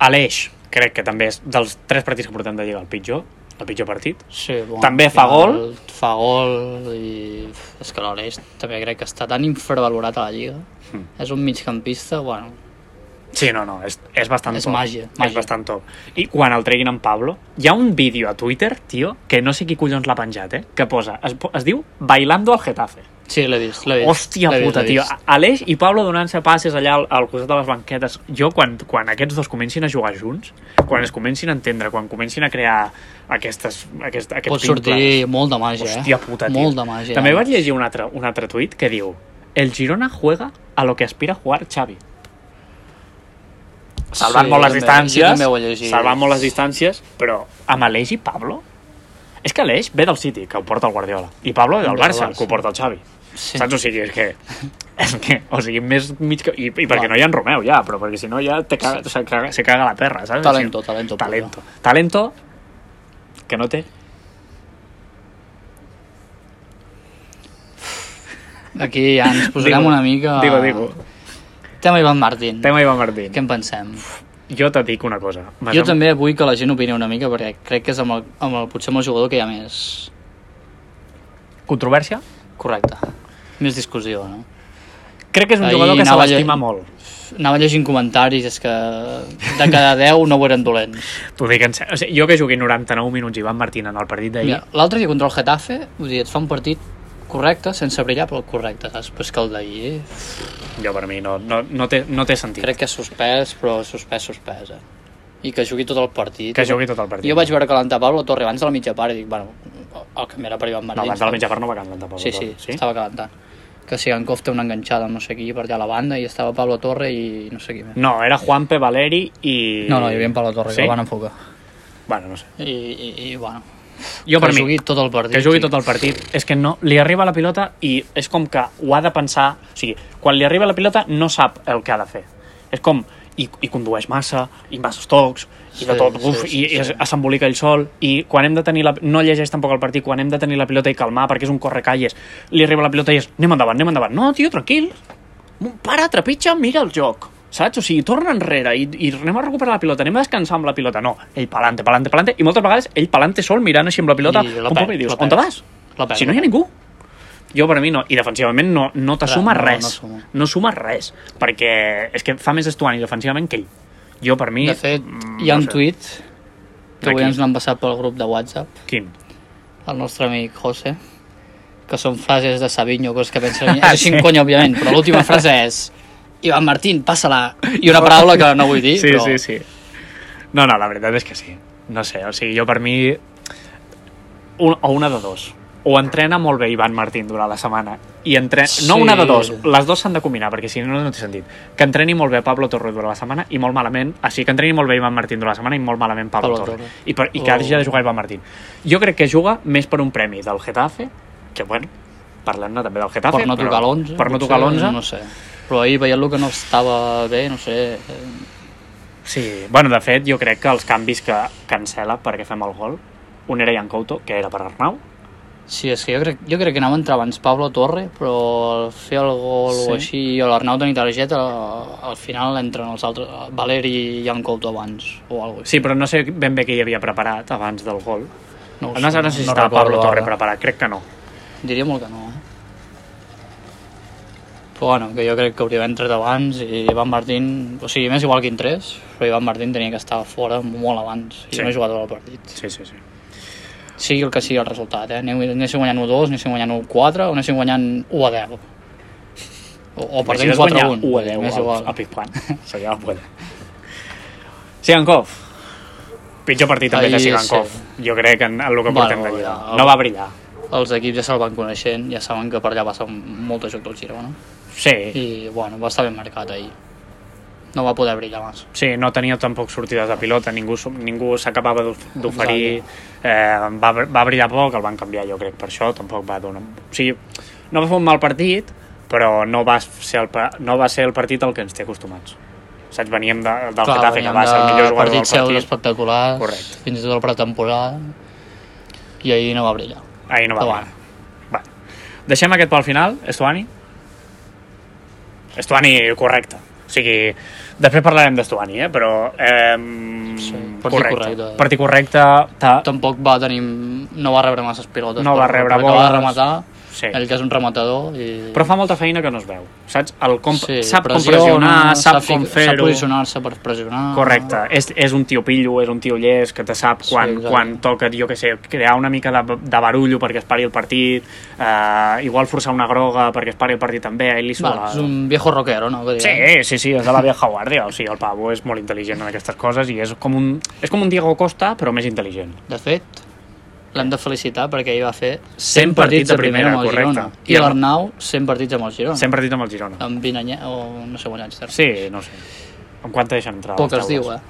S1: Aleix, crec que també és dels tres partits que portem de Lliga el pitjor, el pitjor partit.
S3: Sí, bueno,
S1: També
S3: al
S1: fa
S3: final
S1: gol.
S3: Fa gol i... És que l'Aleix també crec que està tan infravalorat a la Lliga.
S1: Hmm.
S3: És un migcampista, bueno...
S1: Sí, no, no, és, és bastant
S3: És
S1: top.
S3: màgia,
S1: És
S3: màgia.
S1: bastant top. I quan el treguin en Pablo, hi ha un vídeo a Twitter, tio, que no sé qui collons l'ha penjat, eh? Que posa, es, po- es diu Bailando al Getafe.
S3: Sí, l'he vist, l'he vist.
S1: Hòstia
S3: l'he vist,
S1: puta,
S3: l'he
S1: tio.
S3: vist.
S1: Aleix i Pablo donant-se passes allà al, al costat de les banquetes. Jo, quan, quan aquests dos comencin a jugar junts, quan es comencin a entendre, quan comencin a crear aquestes, aquest, aquests
S3: Pot sortir
S1: vincles,
S3: molt de màgia, eh?
S1: Hòstia puta, tio.
S3: Molt de màgia. eh?
S1: També vaig llegir un altre, un altre tuit que diu El Girona juega a lo que aspira a jugar Xavi. Salvant
S3: Sí,
S1: molt les
S3: també-
S1: distàncies,
S3: sí, també ho he llegit.
S1: salvant molt les distàncies, però amb Aleix i Pablo... És que Aleix ve del City, que ho porta el Guardiola, i Pablo del
S3: Del
S1: Barça,
S3: Barça.
S1: que ho porta el Xavi.
S3: Sí.
S1: Saps? O sigui, és
S3: [laughs]
S1: que... És que, o sigui, més mig que... I, i perquè
S3: Clar.
S1: no hi ha en Romeu, ja, però perquè si no ja te caga, se, caga, se caga la perra, saps?
S3: Talento,
S1: O sigui,
S3: talento,
S1: Talento. Talento que no té.
S3: Aquí ja ens posarem
S1: Digo,
S3: una mica...
S1: Digo, digo.
S3: Tema Ivan Martín.
S1: Tema Ivan Martín.
S3: Què en pensem?
S1: Jo te dic una cosa. M'ha
S3: Jo
S1: sem-
S3: també vull que la gent opini una mica perquè crec que és amb el, amb el, potser amb el jugador que hi ha més
S1: Controvèrsia?
S3: correcte, més discussió, no?
S1: Crec que és un
S3: Ahir
S1: jugador que se
S3: anava a
S1: l'estima
S3: lle-
S1: molt.
S3: Anava llegint comentaris, és que de cada 10 no ho eren dolents.
S1: T'ho dic en ser... o sigui, jo que jugui 99 minuts Ivan Martín en el partit d'ahir...
S3: Mira, L'altre dia contra el Getafe, vull dir, et fa un partit correcte, sense brillar, però correcte, saps? Però és que el d'ahir
S1: Jo per mi no, no, no, té, no té sentit.
S3: crec que suspès, però suspès, suspès, eh? I que jugui tot el partit.
S1: Que jugui tot el partit.
S3: Jo vaig veure que l'entapar la torre abans de la mitja part i dic, bueno, el canvi era per Ivan
S1: No,
S3: Martins.
S1: abans de la mitja part no va cantar tampoc.
S3: Sí, sí, sí, estava calentant. Que si en té una enganxada, amb no sé qui, per allà a la banda, i estava Pablo Torre i no sé qui més.
S1: No, era Juanpe, Valeri i...
S3: No, no, hi havia en Pablo Torre,
S1: Mm. sí?
S3: que el van enfocar.
S1: Bueno, no sé.
S3: I, i, i bueno,
S1: Jo
S3: que
S1: per mi,
S3: jugui tot el partit.
S1: que jugui
S3: sí.
S1: tot el partit. És que no, li arriba la pilota i és com que ho ha de pensar... O sigui, quan li arriba la pilota no sap el que ha de fer. És com, i, i condueix massa, i massa tocs, i de
S3: Sí,
S1: tot,
S3: sí,
S1: uf,
S3: sí,
S1: i,
S3: sí.
S1: i es- s'embolica ell sol, i quan hem de tenir la... No llegeix tampoc el partit, quan hem de tenir la pilota i calmar, perquè és un correcalles, li arriba la pilota i és, anem endavant, anem endavant. No, tio, tranquil, para, trepitja, mira el joc. Saps? O sigui, torna enrere i, i anem a recuperar la pilota, anem a descansar amb la pilota. No, ell pelante, pelante, pelante. I moltes vegades ell pelante sol mirant així amb la pilota.
S3: I la
S1: pum, pum,
S3: perd,
S1: I dius,
S3: la
S1: on te
S3: perd.
S1: vas?
S3: La perd,
S1: si no hi
S3: la
S1: ha
S3: perd.
S1: ningú. Jo per a mi no. I defensivament no, no t'assuma
S3: Clar, no,
S1: res.
S3: no suma.
S1: No suma res. Perquè és que fa més estuani defensivament que ell. Jo per mi...
S3: De fet,
S1: mm,
S3: hi ha
S1: no
S3: un
S1: sé.
S3: tuit que avui
S1: Aquí.
S3: ens l'han passat pel grup de WhatsApp,
S1: Quin?
S3: el nostre amic José, que són frases de Savinho, coses que
S1: [laughs]
S3: pensen... És així un
S1: Sí.
S3: cony, òbviament, però l'última frase és Ivan Martín, passa-la. I una paraula que no vull dir,
S1: Sí,
S3: però...
S1: sí, sí. No, no, la veritat és que sí. No sé, o sigui, jo per mi... Un, o una de dos. O entrena molt bé Ivan Martín durant la setmana i entrena... Sí. No
S3: Sí.
S1: una de dos, les dues s'han de combinar, perquè si no, no té sentit. Que entreni molt bé Pablo Torre durant la setmana i molt malament... Ah, sí, que entreni molt bé Ivan Martín durant la setmana i molt malament Pablo,
S3: Pablo
S1: Torre.
S3: Torre.
S1: I, per, I que
S3: Oh.
S1: hagi de jugar Ivan Martín. Jo crec que juga més per un premi del Getafe, que bueno, parlem-ne també del Getafe.
S3: per no
S1: però-
S3: tocar l'11.
S1: Per no tocar l'11.
S3: No sé. Però ahir veient-lo que no estava bé, no sé... eh,
S1: Sí, bueno, de fet, jo crec que els canvis que cancela perquè fem el gol, un era Ian Couto, que era per Arnau,
S3: Sí, és que jo crec, jo crec que anava a entrar abans Pablo Torre, però al fer el gol sí.
S1: Sí.
S3: o així, o l'Arnau tenir targeta, al final entren els altres, Valeri i Jan Couto abans, o alguna cosa
S1: Sí, però no sé ben bé què hi havia preparat abans del gol.
S3: No ho
S1: No sé,
S3: sé,
S1: no sé si estava
S3: recordo
S1: Pablo Torre
S3: ara.
S1: preparat, crec que no.
S3: Diria molt que no, eh? Però bueno, que jo crec que hauria d'haver entrat abans i Ivan Martín... O sigui, m'és igual quin 3, però Ivan Martín tenia que estar fora molt abans i
S1: Sí.
S3: no ha jugat al partit.
S1: Sí, sí, sí.
S3: Sigui el que sigui el resultat, eh? Anessin guanyant 1-2, anessin guanyant 1-4 o anessin guanyant 1-10. O, o perdent 4-1.
S1: 1 a 10
S3: m'és
S1: a,
S3: igual.
S1: a
S3: [laughs]
S1: Pizjuán. Seria la polla. Sigankov. Pitjor partit també
S3: Ahir,
S1: que Sigankov. Jo crec en, en el que
S3: Bueno,
S1: portem de Lliga.
S3: ja, el-
S1: No va brillar.
S3: Els equips ja se'l van coneixent, ja saben que per allà passa molt de joc del Girona.
S1: Sí,
S3: I, bueno, va estar ben marcat ahir. No va poder brillar massa.
S1: sí, no tenia tampoc sortides de pilota, ningú, s- ningú s'acabava d'of- d'oferir, eh, va, br- va brillar poc, el van canviar jo crec per això, tampoc va donar... O sigui, no va fer un mal partit, però no va ser el, pa- no va ser el partit al que ens té acostumats. Saps, veníem de, del Getafe, que
S3: veníem
S1: va ser el
S3: de
S1: millor jugador
S3: partits seus
S1: del partit,
S3: espectaculars,
S1: Correcte.
S3: fins i tot la pretemporada, i ahir no va brillar.
S1: ahir no va
S3: Però
S1: brillar. Va. Deixem aquest pel final, Estuani. Estuani, correcte. O sigui, després parlarem d'Estuani, eh? però... Eh,
S3: Sí, partit
S1: correcte.
S3: correcte.
S1: Partit correcte. Ta...
S3: Tampoc va tenir... no va rebre masses pilotes.
S1: No va rebre
S3: boles. Va
S1: boles.
S3: rematar,
S1: Sí.
S3: ell que és un rematador. I...
S1: Però fa molta feina que no es veu. Saps? El com...
S3: Sí,
S1: sap com
S3: pressiona,
S1: pressionar, sap
S3: fi-
S1: com
S3: Sap
S1: fer-ho.
S3: posicionar-se per pressionar.
S1: Correcte. És, és un tio pillo, és un tio llest, que te sap
S3: Sí,
S1: quan,
S3: exacte.
S1: quan toca, jo que sé, crear una mica de, de barullo perquè es pari el partit, eh, igual forçar una groga perquè es pari el partit també, a ell li
S3: Bueno,
S1: sona...
S3: és un viejo rockero, no? Que
S1: Sí,
S3: diguem.
S1: sí, sí, és de la vieja guàrdia. O sigui, el Pavo és molt intel·ligent en aquestes coses i és com un, és com un Diego Costa, però més intel·ligent.
S3: De fet, l'hem de felicitar perquè ell va fer 100,
S1: partits de primera,
S3: amb el
S1: correcte.
S3: Girona. I Ah.
S1: I el-
S3: l'Arnau 100 partits amb el Girona.
S1: Sempre dit amb el Girona.
S3: Amb 20 anyets, o no sé quants anys. té.
S1: Sí, no sé. En quant te deixen entrar?
S3: Poc
S1: les
S3: es diu,
S1: taules?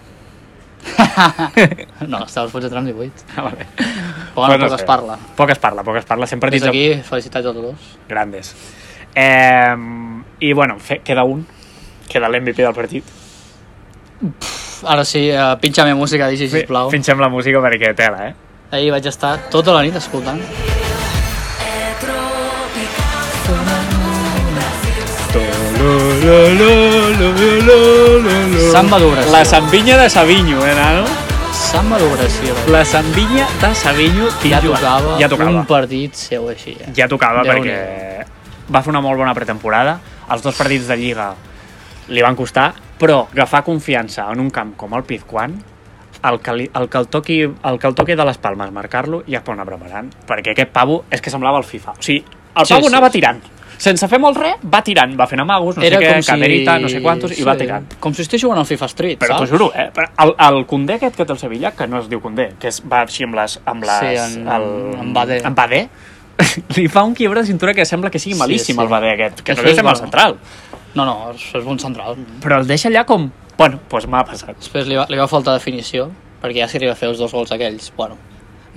S3: eh?
S1: [laughs]
S3: no, estava fots entrar amb 18.
S1: Ah, vale.
S3: Però bueno,
S1: no
S3: poc
S1: sé.
S3: es parla.
S1: Poc es parla, poc es parla. Sempre
S3: Des
S1: partits
S3: d'aquí, felicitats als dos.
S1: grandes. Eh, I bueno, fe, queda un. Queda l'MVP del partit.
S3: Ara sí, uh, pinxa'm música, Digi, sisplau.
S1: Finxem la música perquè tela, eh?
S3: Ahir vaig estar tota la nit escoltant. Samba d'obres.
S1: La sambinya de Savinho, eh, nano?
S3: Samba d'obres, sí.
S1: La sambinya de Savinho,
S3: Ja tocava,
S1: ja tocava.
S3: un partit seu així. Eh?
S1: ja tocava
S3: Déu
S1: perquè va fer una molt bona pretemporada els dos partits de Lliga li van costar però agafar confiança en un camp com el Pizjuán el que, li, el, que el, toqui, el que el toqui de les palmes marcar-lo ja es pot anar preparant perquè aquest pavo és que semblava el FIFA o sigui, el
S3: Sí,
S1: pavo
S3: sí,
S1: anava
S3: sí.
S1: tirant sense fer molt res, va tirant va fent amagos, no
S3: Era
S1: sé què,
S3: com si...
S1: caderita, no sé quantos i va tirant
S3: Com si estigués jugant al FIFA Street,
S1: però t'ho
S3: saps?
S1: juro, eh? Però El, el Condé aquest que té el Sevilla, que no es diu Condé, que es va així amb les... Amb les
S3: Sí, en- en Badé.
S1: En Badé. [laughs] Li fa un quiebre de cintura que sembla que sigui
S3: Sí,
S1: malíssim
S3: sí.
S1: el Badé aquest, que
S3: Això
S1: no deu
S3: és
S1: ser mal
S3: bo.
S1: central.
S3: No, no, és és bon central.
S1: Però el deixa allà com... Bueno, doncs m'ha passat.
S3: Després li va, li va faltar definició, perquè ja s'hi arriba a fer els dos gols aquells. Bueno,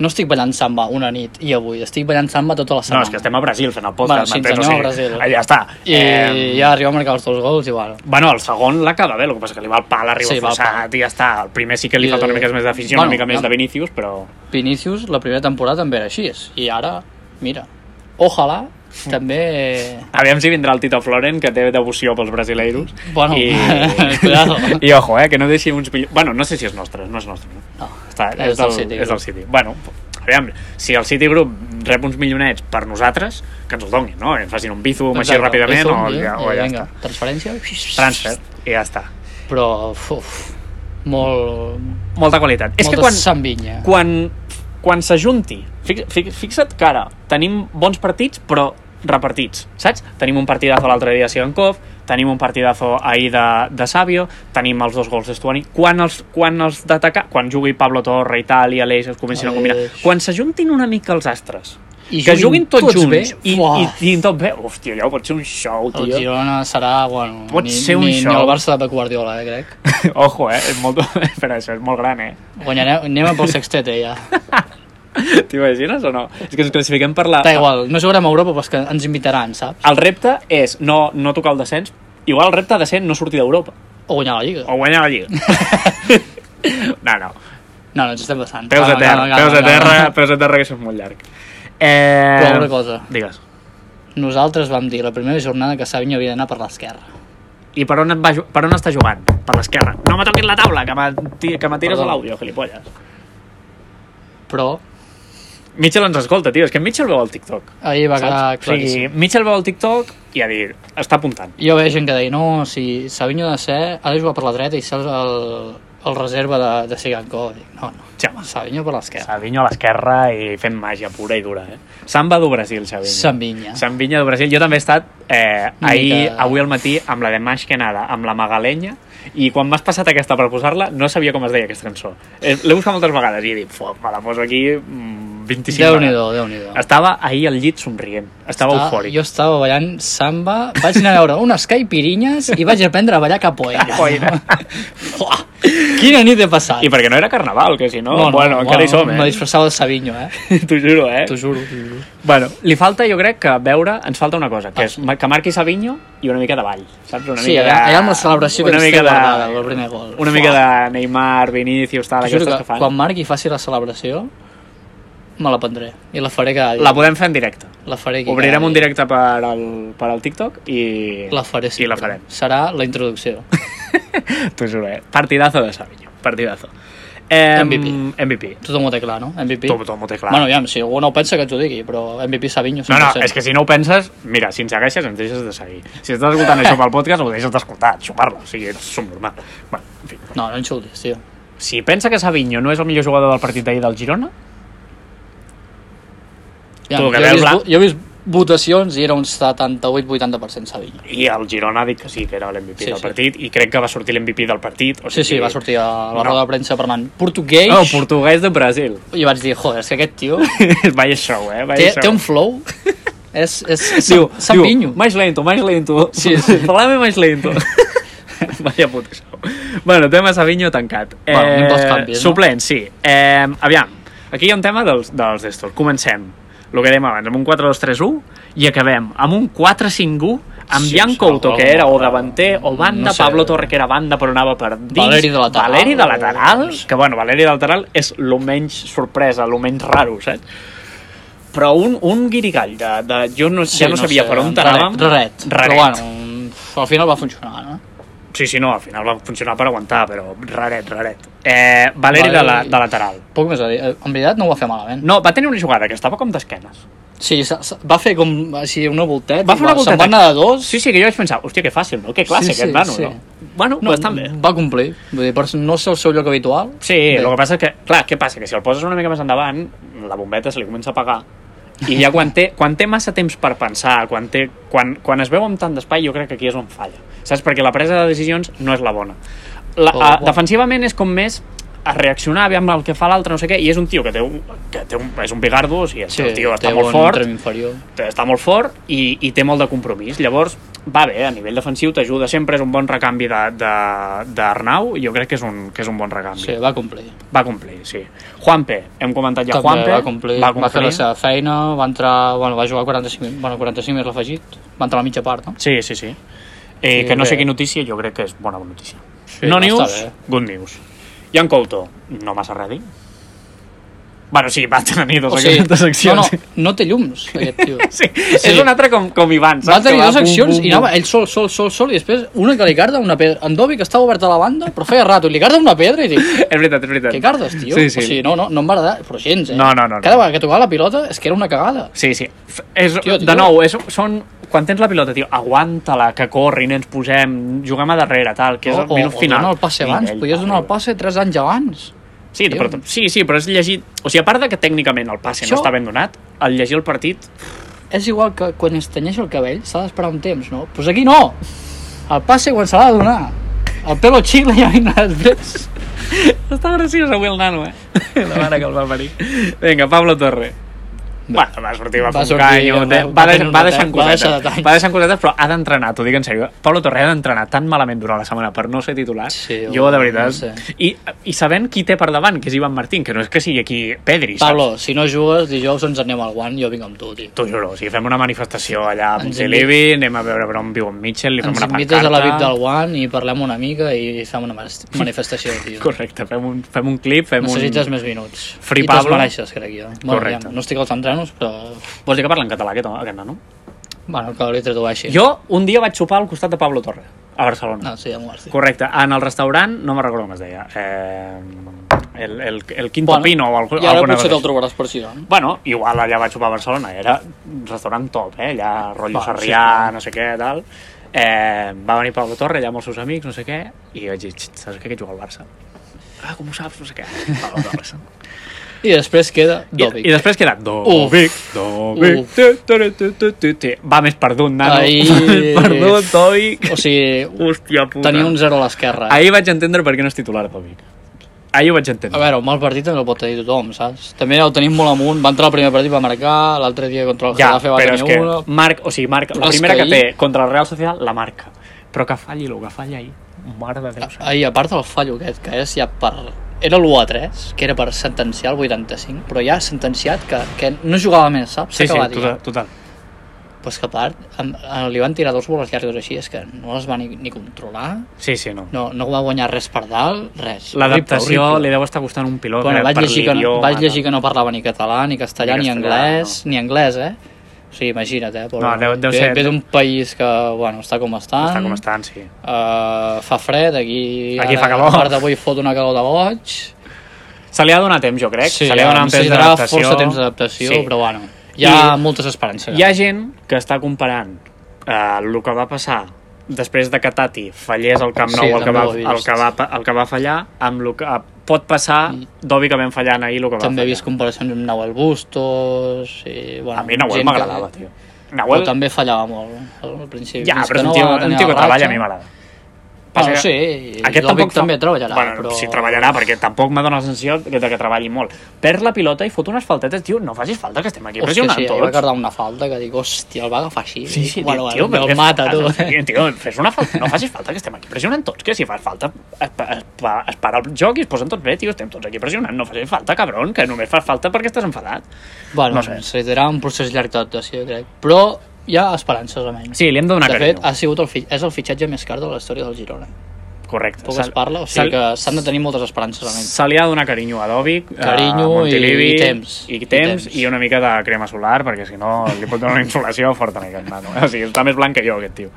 S3: no estic ballant samba una nit i avui, estic ballant samba tota la
S1: No,
S3: setmana.
S1: és que estem a Brasil fent el
S3: Bueno,
S1: podcast,
S3: sí, ens
S1: m'entens?
S3: anem a Brasil.
S1: Allà està.
S3: I eh... ja arriba a marcar els dos gols i bueno.
S1: Bueno, el segon l'acaba bé, el que passa que li va el pal, arriba
S3: Sí,
S1: sí,
S3: va al
S1: forçat i ja està. El primer sí que li
S3: I-
S1: falta una mica més d'afició,
S3: Bueno,
S1: una mica més
S3: ja.
S1: de Vinícius, però...
S3: Vinícius, la primera temporada també era així, i ara, mira, ojalà
S1: Mm.
S3: també...
S1: Aviam si vindrà el Tito Floren, que té devoció pels brasileiros.
S3: Bueno,
S1: I,
S3: [laughs] cuidado.
S1: I ojo, eh, que no deixi uns millors... Bueno, no sé si és nostre, no és nostre. No?
S3: No,
S1: Està,
S3: és
S1: és,
S3: del
S1: del,
S3: City
S1: és del
S3: Group.
S1: City. Bueno, aviam, si el City Group rep uns milionets per nosaltres, que ens els donin, no? Que facin un bizum així
S3: Exacte,
S1: ràpidament
S3: Bizum,
S1: o,
S3: i-
S1: ja,
S3: i
S1: o ja
S3: vinga,
S1: està.
S3: Transferència?
S1: Transfer, i ja està.
S3: Però, uf, molt...
S1: Molta qualitat.
S3: És
S1: és que
S3: molta quan...
S1: quan,
S3: sambinya.
S1: quan, quan s'ajunti, fix, fix, fixa't que ara tenim bons partits, però repartits, saps? Tenim un partidazo l'altre dia a Sigankov, tenim un partidazo ahir de, de Sabio, tenim els dos gols d'Estuani. Quan els, quan els d'atacar, quan jugui Pablo Torre i tal, i Aleix es comencin a combinar,
S3: Aleix.
S1: quan s'ajuntin una mica els astres,
S3: I
S1: que juguin tots, junts
S3: bé,
S1: i,
S3: uah.
S1: i diguin tot bé, hòstia, allò pot ser un show, [laughs]
S3: El
S1: tio.
S3: Girona serà, bueno,
S1: Pot
S3: ni,
S1: ser un
S3: ni, ni
S1: show.
S3: el Barça de Pep Guardiola, eh, crec.
S1: [laughs] Ojo, eh? És molt... Però això és molt gran, eh?
S3: Guanyarem, anem a pel sextet, eh, ja.
S1: T'imagines o no? És que ens classifiquem per la...
S3: Està igual, no jugarem a Europa, però és que ens invitaran, saps?
S1: El repte és no, no tocar el descens. Igual el repte de ser no sortir d'Europa.
S3: O guanyar la Lliga.
S1: O guanyar la [laughs] Lliga. no, no.
S3: No, no, ens estem passant.
S1: Peus a
S3: Calma,
S1: terra,
S3: calma,
S1: peus a
S3: calma, calma.
S1: terra, peus a terra, que això és molt llarg. Eh...
S3: Però una cosa.
S1: Digues.
S3: Nosaltres vam dir la primera jornada que Savinho havia d'anar per l'esquerra.
S1: I per on, et va, ju- per on està jugant? Per l'esquerra. No me toquis la taula, que me, ti- que me tires
S3: Perdó.
S1: a l'àudio, gilipolles.
S3: Però
S1: Mitchell ens escolta, tio. És que Mitchell veu el TikTok.
S3: ahir va quedar
S1: Saps? o
S3: claríssim.
S1: sigui, Mitchell veu el TikTok i ha dit, està apuntant.
S3: Jo veia gent que deia, no, si Savinho ha de ser, ha de jugar per la dreta i ser el, el reserva de, de Siganco. Dic, no, no,
S1: Sí, home.
S3: Savinho per l'esquerra.
S1: Savinho a l'esquerra i fent màgia pura i dura, eh? Samba do Brasil, Savinho.
S3: Savinho.
S1: Sambinya do Brasil. Jo també he estat eh,
S3: Una
S1: ahir,
S3: mica-
S1: avui al matí amb la de Maskenada, amb la Magalenya, i quan m'has passat aquesta per posar-la no sabia com es deia aquesta cançó. Eh, L'he buscat moltes vegades i he dit, "Fua, me la poso aquí mm, 25
S3: Déu-n'hi-do,
S1: vegades.
S3: Déu-n'hi-do.
S1: Estava ahir al llit somrient, estava
S3: Ah,
S1: eufòric. [laughs]
S3: Jo estava ballant samba, vaig anar a veure unes caipirinyes i vaig aprendre a ballar capoeira.
S1: Capoeira.
S3: Uah, Quina nit he passat.
S1: I perquè no era carnaval, que si no, no, no bueno, no, encara hi som,
S3: Me
S1: eh?
S3: disfressava de Savinho, eh?
S1: [laughs] T'ho juro, eh?
S3: T'ho juro, t'ho juro.
S1: Bueno, li falta, jo crec, que veure... Ens falta una cosa, que és ma- que marqui Savinho i una mica de ball, saps? Una
S3: Ah. Sí,
S1: mica de...
S3: allà, allà amb la celebració que
S1: una
S3: ens té
S1: mica de-
S3: guardada, el primer gol.
S1: Una mica de Neymar, Vinicius, tal,
S3: T'ho juro
S1: aquestes que,
S3: que,
S1: fan.
S3: quan Marc hi faci la celebració, me la prendré. I la faré cada dia.
S1: La podem fer en directe.
S3: La faré aquí
S1: Obrirem
S3: cada
S1: un
S3: dia.
S1: directe per al, per al TikTok i...
S3: La faré
S1: I
S3: sempre.
S1: la farem.
S3: Serà la introducció.
S1: T'ho juro, eh? Partidazo de Savinho. Partidazo. Eh,
S3: MVP.
S1: MVP.
S3: Tothom ho té clar, no? MVP.
S1: Tot, tot molt clar.
S3: Bueno, aviam, si algú no ho pensa que t'ho digui, però MVP Savinho 100%.
S1: No, no, és que si no ho penses, mira, si ens segueixes ens deixes de seguir. Si estàs
S3: [laughs]
S1: escoltant això pel podcast, ho deixes d'escoltar, xupar-lo, o sigui, ets subnormal. Bueno, en fi.
S3: No, no insultis, tio.
S1: Si pensa que Savinho no és el millor jugador del partit d'ahir del Girona,
S3: Aviam,
S1: Tu, que
S3: jo, he
S1: veus
S3: vist,
S1: la-
S3: vo- jo he vist votacions i era un 78-80% Savinho.
S1: i el Girona ha dit que sí, que era l'MVP
S3: Sí,
S1: sí, del
S3: sí.
S1: partit, i crec que va sortir l'MVP del partit. O
S3: Sí,
S1: sigui,
S3: sí, va sortir a la
S1: No.
S3: roda de premsa parlant portuguès
S1: Oh, portuguès de [laughs] Brasil.
S3: i vaig dir, joder, és que aquest
S1: [laughs]
S3: tio
S1: Vaya show, eh? Vaya
S3: té,
S1: show.
S3: té un flow.
S1: [laughs]
S3: és, és, és
S1: Diu, diu,
S3: Savinho.
S1: mais lento, mais lento.
S3: Sí,
S1: [laughs]
S3: sí.
S1: Falame mais
S3: [laughs]
S1: lento. Vaya puta show. Bueno, tema Savinho tancat. Eh,
S3: Va, anem pels canvis, no?
S1: Suplent, sí. Eh, aviam, aquí hi ha un tema dels, dels estos. Comencem, el que dèiem abans, amb un 4-2-3-1 i acabem amb un 4-5-1 amb
S3: Sí,
S1: sí, Jan
S3: sí,
S1: Couto,
S3: algo-
S1: que era o davanter o banda,
S3: no
S1: no
S3: sé.
S1: sé. Pablo Torre, que era banda però anava per dins.
S3: Valeri de lateral,
S1: Valeri de
S3: o-
S1: lateral,
S3: no sé.
S1: que bueno, Valeri de lateral és el menys sorpresa, el menys raro, saps? Però un, un guirigall de, de... Jo no, ja no, sabia per on t'anàvem.
S3: Raret, raret.
S1: Raret.
S3: Però bueno, mm, al final va funcionar, no?
S1: Sí, sí, no, al final va funcionar per aguantar, però raret, raret. Eh, Valeri de, la,
S3: Valeri.
S1: de lateral.
S3: Poc més a dir. Eh, En veritat no ho va fer malament.
S1: No, va tenir una jugada que estava com d'esquenes.
S3: Sí, se- se- va fer com així una volteta.
S1: Va fer una volteta.
S3: Se'n va anar de dos.
S1: Sí, sí, que jo vaig pensar, hòstia, que fàcil, no? Que classe,
S3: Sí,
S1: sí,
S3: sí,
S1: aquest nano,
S3: sí.
S1: no? Bueno, no,
S3: no,
S1: bastant bé.
S3: va complir. Vull dir, però no és el seu lloc habitual.
S1: Sí, el que passa és que, clar, què passa? Que si el poses una mica més endavant, la bombeta se li comença a apagar i ja quan té, quan té massa temps per pensar, quan, té, quan, quan es veu amb tant d'espai, jo crec que aquí és on falla. Saps? Perquè la presa de decisions no és la bona. La,
S3: Oh,
S1: a,
S3: wow.
S1: defensivament és com més a reaccionar, aviam el que fa l'altre, no sé què, i és un tio que, té un, que té un, és un bigardo, o sigui, sí, el tio està
S3: té
S1: molt
S3: un
S1: fort,
S3: tram inferior.
S1: està molt fort i, i té molt de compromís. Llavors, va bé, a nivell defensiu t'ajuda sempre, és un bon recanvi de- de- d'Arnau, jo crec que és un, que és un bon recanvi.
S3: Sí, va complir.
S1: Va complir, sí. Juanpe, hem comentat ja
S3: També
S1: Juanpe.
S3: va complir.
S1: Va
S3: Va
S1: complir.
S3: fer la seva feina, va entrar... Bueno, va jugar 45, min- bueno, 45 més l'afegit. Va entrar a la mitja part, no?
S1: Sí, sí, sí. Eh,
S3: Sí,
S1: que no sé
S3: bé.
S1: quina notícia, jo crec que és bona notícia.
S3: Sí,
S1: no
S3: va estar
S1: news,
S3: bé.
S1: good news. I en Couto, no massa res a dir. Bueno, sí, va tenir dos, dos [laughs]
S3: no,
S1: accions.
S3: no, no té llums, aquest [laughs] tio.
S1: Sí, és un altre com, com Ivan. saps?
S3: Va
S1: Que
S3: tenir dues
S1: pum,
S3: accions
S1: pum,
S3: i anava ell sol, sol, sol, sol, i després una que li carda una pedra. En Dovi, que estava obert a la banda, però feia rato, i li carda una pedra i dic,
S1: pum. És veritat, és veritat.
S3: què cardes, tio?
S1: Sí, sí.
S3: O sigui, no, no, no em va agradar, però gens, eh?
S1: No, no, no, no.
S3: Cada vegada que tocava la pilota és que era una cagada.
S1: Sí, sí. F- És,
S3: Tio,
S1: tio,
S3: tio.
S1: De nou, és, són... Quan tens la pilota, tio, aguanta-la, que corrin, ens posem, juguem a darrere, tal, que és
S3: O,
S1: el
S3: o,
S1: minut
S3: o
S1: final.
S3: donar el passe abans,
S1: Nivell,
S3: podies donar el passe 3 anys abans.
S1: Sí,
S3: Tio.
S1: però, sí, sí, però és llegit... O sigui, a part de que tècnicament el passe
S3: Això-
S1: no està ben donat, al llegir el partit...
S3: [laughs] És igual que quan es tenyeix el cabell s'ha d'esperar un temps, no? Doncs pues aquí no! El passe quan se l'ha de donar. El pelo xicla ja vindrà després.
S1: [laughs] Està graciós avui el nano, eh? La mare que el va parir. Vinga, Pablo Torre. Bueno, va sortir, va,
S3: Va
S1: va fer un
S3: sortir,
S1: canyo,
S3: va-
S1: va,
S3: va tenir
S1: deix-
S3: un
S1: va, deixant
S3: detall, va
S1: cosetes,
S3: deixar
S1: va,
S3: detalls.
S1: deixant cosetes, però ha d'entrenar, t'ho dic en sèrio. Pablo Torre ha d'entrenar tan malament durant la setmana per no ser titular,
S3: Sí,
S1: jo,
S3: home,
S1: de veritat...
S3: no sé.
S1: I, I sabent qui té per davant, que és Ivan Martín, que no és que sigui aquí Pedri,
S3: Pablo, si no jugues, dijous ens anem al guant, jo vinc amb tu, tio.
S1: T'ho juro, o sigui, fem una manifestació allà a
S3: Ens
S1: Montilivi, anem a veure per on viu en Mitchell, li fem
S3: Ens
S1: una
S3: invites
S1: pancarta...
S3: a la VIP del guant i parlem una mica i fem una mas- manifestació, tio.
S1: Correcte, fem un, fem un clip, fem
S3: Necessites
S1: un...
S3: més minuts.
S1: Free
S3: I te'ls
S1: Pablo.
S3: mereixes, crec jo. Bueno,
S1: Correcte.
S3: aviam, no estic als entrenos, però...
S1: Vols dir que parla en català aquest, home, aquest nano?
S3: Bueno, que li tradueixi.
S1: Jo un dia vaig sopar al costat de Pablo Torre, a Barcelona.
S3: No, sí, ja m'ho vas dir.
S1: Correcte, en el restaurant, no me'n recordo com es deia, eh, el, el, el Quinto Pino o alg-
S3: I ara
S1: alguna
S3: potser te'l
S1: cosa.
S3: trobaràs per si, no?
S1: Bueno, igual allà vaig sopar a Barcelona, era un restaurant top, eh? allà rotllo
S3: Va, sí,
S1: Sarrià,
S3: clar.
S1: no sé què, tal. Eh, va venir Pablo Torre allà amb els seus amics, no sé què, i vaig dir, "Xt, saps què, que juga al Barça? Ah, com ho saps? No sé què. [laughs] Pablo Torre.
S3: I després queda
S1: I,
S3: Dobic.
S1: I després queda Dovic, Dovic,
S3: Uf.
S1: tu, tu, tu, tu, tu, tu. va més perdut, nano, [laughs]
S3: Ai.
S1: perdut, Dovic,
S3: O sigui,
S1: hòstia puta.
S3: tenia un 0 a l'esquerra.
S1: Ahir vaig entendre per què no és titular, Dovic. Ahir ho vaig
S3: A
S1: entendre.
S3: veure, un mal partit també el pot tenir tothom, saps? També ho tenim molt amunt, va entrar el primer partit, va marcar, l'altre dia contra el
S1: ja,
S3: Getafe va
S1: però és
S3: tenir
S1: que
S3: una...
S1: Marc, o sigui, Marc,
S3: Però
S1: la
S3: és
S1: primera
S3: que
S1: que, té
S3: ahir-
S1: contra el Real Sociedad, la marca. Però que falli el que falla ahir, mare de Déu.
S3: Ai, a part del fallo aquest, que és ja per... Era l'1 a 3, que era per sentenciar el 85, però ja ha sentenciat que, que no jugava més, saps?
S1: Sí, sí,
S3: S'ha acabat ja.
S1: total, total.
S3: Però és que a part, em, eh, li van tirar dos boles llargues així, és que no les va ni, ni controlar,
S1: Sí, sí, no.
S3: no, no va guanyar res per dalt, res.
S1: L'adaptació
S3: Horrible,
S1: li
S3: horrible.
S1: deu estar costant un pilot.
S3: Bueno,
S1: eh,
S3: vaig
S1: per
S3: llegir, que no,
S1: l'idioma,
S3: vaig llegir que no parlava ni català, ni castellà,
S1: Ni
S3: ni,
S1: castellà,
S3: anglès, ni anglès, eh? O sigui, imagina't, eh? Pobre.
S1: No, deu- deu
S3: ve,
S1: ser-
S3: Ve d'un país que, bueno, està com estan.
S1: Està com estan, sí.
S3: eh, fa fred, aquí...
S1: Aquí
S3: ara,
S1: fa calor.
S3: A part d'avui fot una calor de boig.
S1: Se li ha donat temps, jo crec. se li ha
S3: em
S1: donat temps
S3: tindrà
S1: d'adaptació.
S3: força temps d'adaptació,
S1: Sí.
S3: però bueno, hi ha
S1: I-
S3: moltes esperances.
S1: Hi ha gent que està comparant eh, el que va passar després de que Tati fallés al Camp Nou
S3: Sí,
S1: el, que
S3: també
S1: va,
S3: ho he vist.
S1: el, que va, pa- el que va fallar amb el que eh, pot passar d'òbicament fallant ahir el que va
S3: Mm. També he
S1: fallar.
S3: vist comparacions amb Nahuel Bustos... I, bueno,
S1: A mi Nahuel
S3: gent
S1: m'agradava,
S3: que...
S1: tio.
S3: Però
S1: Nahuel,
S3: també fallava molt al principi.
S1: ja,
S3: Fins
S1: però és
S3: no
S1: un tio,
S3: va
S1: un
S3: tenir
S1: tio que
S3: la
S1: treballa
S3: ratxa.
S1: a mi m'agrada.
S3: Bueno,
S1: que
S3: sí,
S1: aquest tampoc fa-
S3: també treballarà,
S1: bueno,
S3: però...
S1: Sí, treballarà, perquè tampoc m'ha donat la sensació de que treballi molt. Perd la pilota i fot unes faltetes, tio, no facis falta, que estem aquí
S3: Hòstia,
S1: pressionant
S3: sí, ahir va
S1: tots.
S3: guardar una falta que dic, hòstia, el va agafar així.
S1: Sí, sí,
S3: bueno,
S1: tio, però
S3: bueno, el mata,
S1: [laughs]
S3: tu.
S1: Tio, tio, fes una falta, no facis falta, que estem aquí pressionant tots, que si fas falta es, pa- es, pa- es para el joc i es posen tots bé, tio, estem tots aquí pressionant, no facis falta, cabron, que només fas falta perquè estàs enfadat.
S3: Bueno,
S1: No sé.
S3: no sé. serà un procés llarg d'adaptació, crec. Però hi ha esperances, almenys.
S1: Sí, li hem de donar
S3: de fet,
S1: carinyo.
S3: ha sigut el, fi- és el fitxatge més car de la història del Girona.
S1: Correcte.
S3: Poc
S1: Se-
S3: es parla, o
S1: se-
S3: sigui que s'han de tenir moltes esperances, almenys.
S1: Se li ha de donar carinyo a Dovic,
S3: Carinyo
S1: a Montilivi,
S3: i- i temps.
S1: i
S3: I
S1: temps,
S3: temps.
S1: i una mica de crema solar, perquè si no li pot donar una insolació forta a aquest nano. eh? O sigui, està més blanc que jo, aquest tio.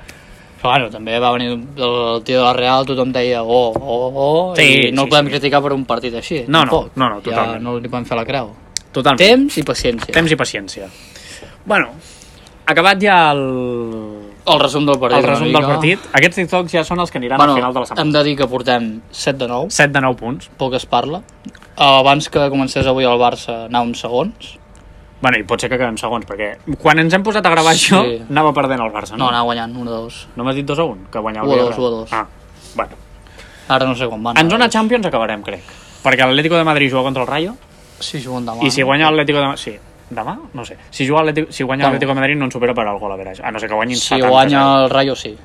S3: Però bueno, també va venir el tio de la Real, tothom deia oh, oh, oh,
S1: Sí,
S3: i no
S1: sí,
S3: el podem
S1: sí.
S3: criticar per un partit així.
S1: No, no,
S3: tampoc.
S1: no, no,
S3: ja
S1: totalment.
S3: no li podem fer la creu.
S1: Totalment.
S3: Temps i paciència.
S1: Temps i paciència. Bueno, acabat ja el,
S3: El resum del partit.
S1: el
S3: una
S1: resum
S3: mica.
S1: del partit. Aquests TikToks ja són els que aniran
S3: Bueno,
S1: al final de la
S3: hem
S1: setmana.
S3: de dir que portem 7 de 9,
S1: 7 de 9 punts.
S3: poc es parla. Abans que comencés avui el Barça, anàvem segons.
S1: Bueno, i pot ser que quedem segons, perquè quan ens hem posat a gravar
S3: Sí.
S1: això, anava perdent el Barça,
S3: No,
S1: no?
S3: anava guanyant, 1 de 2.
S1: No m'has dit 2 a 1? Que guanyava
S3: U a
S1: el
S3: dos,
S1: Villarreal.
S3: u a dos.
S1: Ah, bueno.
S3: Ara no sé quan van.
S1: En zona Champions acabarem, crec. Perquè l'Atlético de Madrid juga contra el Rayo,
S3: Sí, juguen demà.
S1: I si guanya l'Atlético de Madrid... Sí, demà? No sé. Si, juga l'Atlético- si guanya
S3: Bueno.
S1: l'Atlético de Madrid no ens supera per al gol a veràs. A no sé que guanyin
S3: Si
S1: 70.
S3: guanya el Rayo, sí.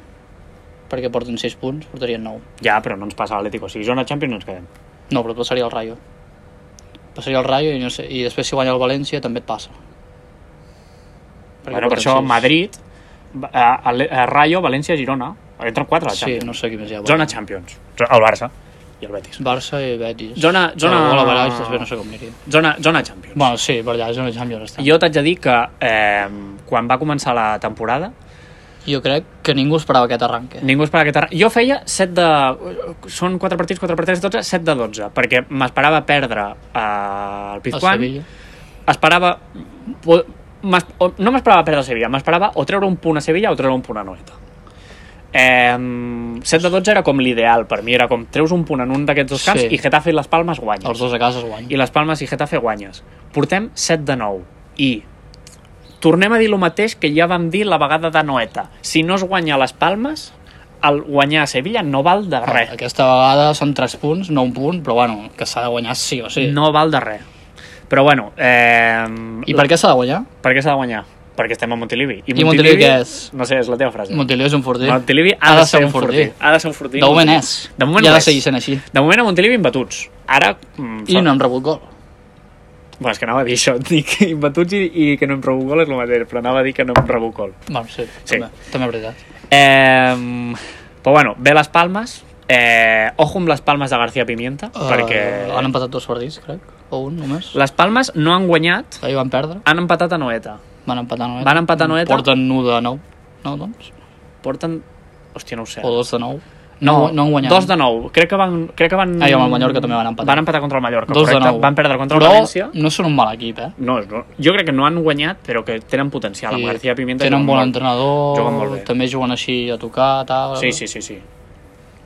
S3: Perquè porten 6 punts, portarien 9.
S1: Ja, però no ens passa l'Atlético. Si zona Champions no ens quedem.
S3: No, però et passaria el Rayo. Passaria el Rayo i, no sé, i després si guanya el València també et passa. Perquè
S1: bueno, per
S3: porten
S1: això
S3: sis.
S1: Madrid, a, a Rayo, València, Girona. Entren 4 a la
S3: Sí,
S1: Champions.
S3: no sé qui més hi ha.
S1: Zona Champions. El Barça. I el Betis.
S3: Barça i Betis.
S1: Zona- zona-
S3: Però, a la Baralls, després no sé com aniria.
S1: Zona, zona Champions.
S3: Bueno, sí, per allà, zona Champions està. Jo,
S1: Jo t'haig de dir que eh, quan va començar la temporada
S3: jo crec que ningú esperava aquest arranque.
S1: Ningú esperava aquest arranque. Jo feia 7 de... Són 4 partits, 4 partits, 12, 7 de 12, perquè m'esperava perdre eh, el
S3: El
S1: Pizjuán,
S3: Sevilla.
S1: esperava... po- m'es- o- No m'esperava perdre el Sevilla, m'esperava o treure un punt a Sevilla o treure un punt a Noeta. Eh, 7 de 12 era com l'ideal per mi, era com treus un punt en un d'aquests dos camps
S3: Sí.
S1: sí. i Getafe i les Palmes guanyes.
S3: Els dos a casa es guanyen.
S1: I les Palmes i Getafe guanyes. Portem 7 de 9 i tornem a dir el mateix que ja vam dir la vegada de Noeta. Si no es guanya a les Palmes, el guanyar a Sevilla no val
S3: Ah,
S1: de res.
S3: Aquesta vegada són 3 punts, no un punt, però bueno, que s'ha de guanyar sí o sí.
S1: No val de res. Però bueno, eh,
S3: I per què s'ha de guanyar?
S1: per què s'ha de guanyar? Perquè estem a Montilivi.
S3: I Montilivi què és?
S1: No sé, és la teva frase.
S3: Montilivi és un fortí.
S1: Montilivi ha, de ser un fortí. Ha de ser un fortí.
S3: De moment és.
S1: De moment
S3: I ha
S1: ho
S3: de
S1: és.
S3: seguir sent així.
S1: De moment a Montilivi imbatuts. Ara... Mm,
S3: I no hem rebut gol.
S1: Bueno, és que anava a dir això, [laughs] dic imbatuts i, i que no hem rebut gol és el mateix, però anava a dir que no hem rebut gol.
S3: Bueno, sí,
S1: Sí.
S3: També, també és veritat.
S1: Eh, però bueno, ve les palmes. Eh, ojo amb les palmes de García Pimienta,
S3: Eh,
S1: perquè...
S3: Han empatat dos partits, crec. O un, només.
S1: Les palmes no han guanyat,
S3: Ahir van perdre.
S1: han empatat a Noeta.
S3: Van empatar a Noeta.
S1: Van empatar a Noeta.
S3: Porten 1 de 9. No, doncs?
S1: Porten... Hòstia, no ho sé.
S3: O 2 de 9. No, no, han guanyat.
S1: Dos de nou. Crec que van... Crec que van...
S3: Ah, i amb el Mallorca també van empatar.
S1: Van empatar contra el Mallorca,
S3: Dos de
S1: correcte.
S3: 9.
S1: Van perdre contra
S3: però
S1: el València.
S3: no són un mal equip, eh?
S1: No, no, jo crec que no han guanyat, però que tenen potencial. Amb García Pimienta...
S3: tenen
S1: juguen
S3: bon
S1: molt.
S3: entrenador,
S1: Juguen molt bé.
S3: també juguen així a tocar, tal...
S1: Sí, sí, sí, sí.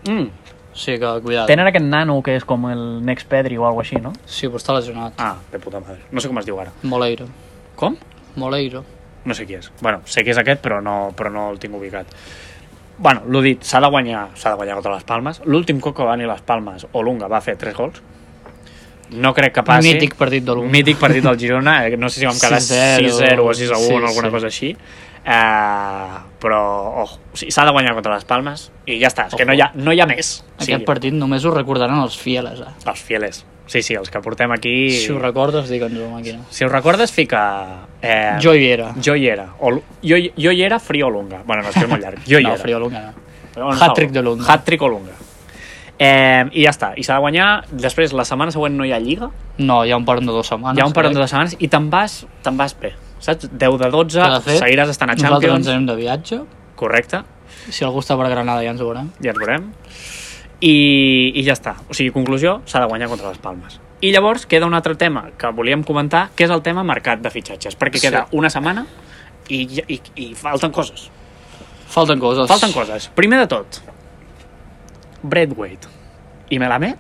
S1: Mm.
S3: Sí que, cuidat.
S1: Tenen aquest nano que és com el Next Pedri o alguna així, no?
S3: Sí, però està lesionat.
S1: Ah, de puta madre. No sé com es diu ara.
S3: Moleiro.
S1: Com?
S3: Moleiro.
S1: No sé qui és. Bueno, sé que és aquest, però no, però no el tinc ubicat. Bueno, l'ho dit, s'ha de guanyar, s'ha de guanyar contra les Palmes. L'últim cop que va venir les Palmes, Olunga va fer 3 gols. No crec que passi.
S3: Mític partit de l'Olunga.
S1: Mític partit del Girona, eh, no sé si vam [laughs] quedar
S3: 6-0.
S1: 6-0 o 6-1
S3: Sí,
S1: o alguna
S3: sí.
S1: cosa així. Uh, però oh, o sigui, s'ha de guanyar contra les Palmes i ja està, és que no hi ha, no hi ha més. O sigui,
S3: Aquest partit només ho recordaran els fieles, eh?
S1: Els fieles. Sí, sí, els que portem aquí...
S3: Si ho recordes, digue'ns-ho, màquina.
S1: si ho recordes, fica... Eh,
S3: Jo hi era.
S1: Jo hi era. O, jo, jo hi era Friolunga. Bueno, no, és que és molt llarg. Jo hi
S3: no,
S1: era.
S3: Friolunga no.
S1: On
S3: Hat-trick
S1: estava?
S3: de Lunga.
S1: Hat-trick Olunga. Eh, I ja està. I s'ha de guanyar. Després, la setmana següent no hi ha lliga.
S3: Ah, No, hi ha un parón de dues setmanes.
S1: hi ha un parell
S3: crec.
S1: de setmanes i te'n vas, te'n vas bé. Saps? 10 de 12,
S3: Que, de fet,
S1: seguiràs estant a
S3: Nosaltres
S1: Champions.
S3: ens anem de viatge.
S1: Correcte.
S3: Si algú està per Granada ja ens ho veurem.
S1: Ja ens veurem. I, I ja està. O sigui, conclusió, s'ha de guanyar contra les Palmes. I llavors queda un altre tema que volíem comentar, que és el tema mercat de fitxatges, perquè
S3: Sí.
S1: queda una setmana i, i, i falten coses.
S3: Falten coses.
S1: Falten coses. Primer de tot, Braithwaite i Melamed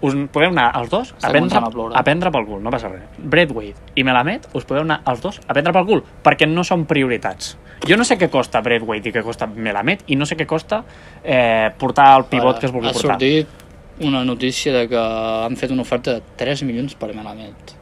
S1: us en podeu anar els dos
S3: Està
S1: a prendre,
S3: començant a ploure.
S1: a prendre pel cul, no passa res. Braithwaite i Melamed us podeu anar els dos a prendre pel cul, perquè no són prioritats. Jo no sé què costa Braithwaite i què costa Melamed, i no sé què costa eh, portar el pivot que es vulgui
S3: ha
S1: portar.
S3: sortit una notícia de que han fet una oferta de 3 milions per Melamed.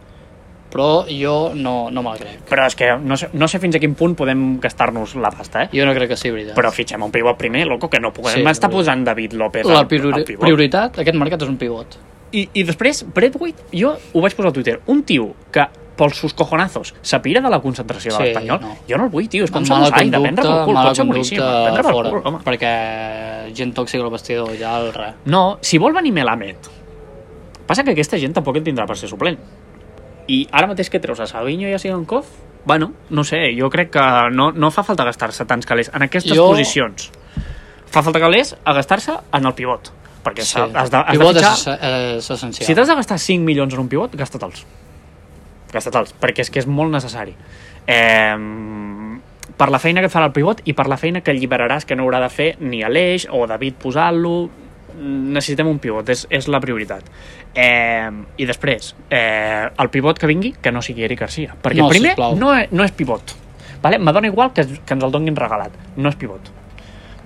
S3: Però jo no, no me la crec.
S1: Però és que no sé, no sé fins a quin punt podem gastar-nos la pasta, eh?
S3: Jo no crec que sigui veritat.
S1: Però fitxem un pivot primer, loco, que no
S3: Sí,
S1: podem sí, estar
S3: vull dir-
S1: posant David López
S3: la
S1: al-
S3: priori
S1: al pivot.
S3: prioritat, aquest mercat és un pivot.
S1: I, i després, Braithwaite, jo ho vaig posar a Twitter, un tio que pels sus cojonazos s'apira de la concentració de
S3: Sí,
S1: l'Espanyol,
S3: no.
S1: jo no el vull, tio, és com s'ha d'usar, de prendre pel cul,
S3: mala
S1: pot ser boníssim,
S3: conducta
S1: prendre pel
S3: fora,
S1: cul, home.
S3: perquè gent tòxica al vestidor, ja el re.
S1: No, si vol venir Melamed, passa que aquesta gent tampoc el tindrà per ser suplent. I ara mateix que treus a Savinho i a Sigankov, bueno, no sé, jo crec que no, no fa falta gastar-se tants calés en aquestes
S3: Jo-
S1: jo... posicions. Fa falta calés a gastar-se en el pivot, perquè sí. has de, has de
S3: pivot
S1: fitxar...
S3: és, és essencial.
S1: Si t'has de gastar 5 milions en un pivot, gasta-te'ls. Gasta-te'ls, perquè és que és molt necessari. Eh, per la feina que et farà el pivot i per la feina que alliberaràs que no haurà de fer ni Aleix o David posant-lo necessitem un pivot, és, és la prioritat eh, i després eh, el pivot que vingui, que no sigui Eric Garcia perquè
S3: No,
S1: primer
S3: sisplau.
S1: no, e- no és pivot vale? m'adona igual que, que ens el donguin regalat no és pivot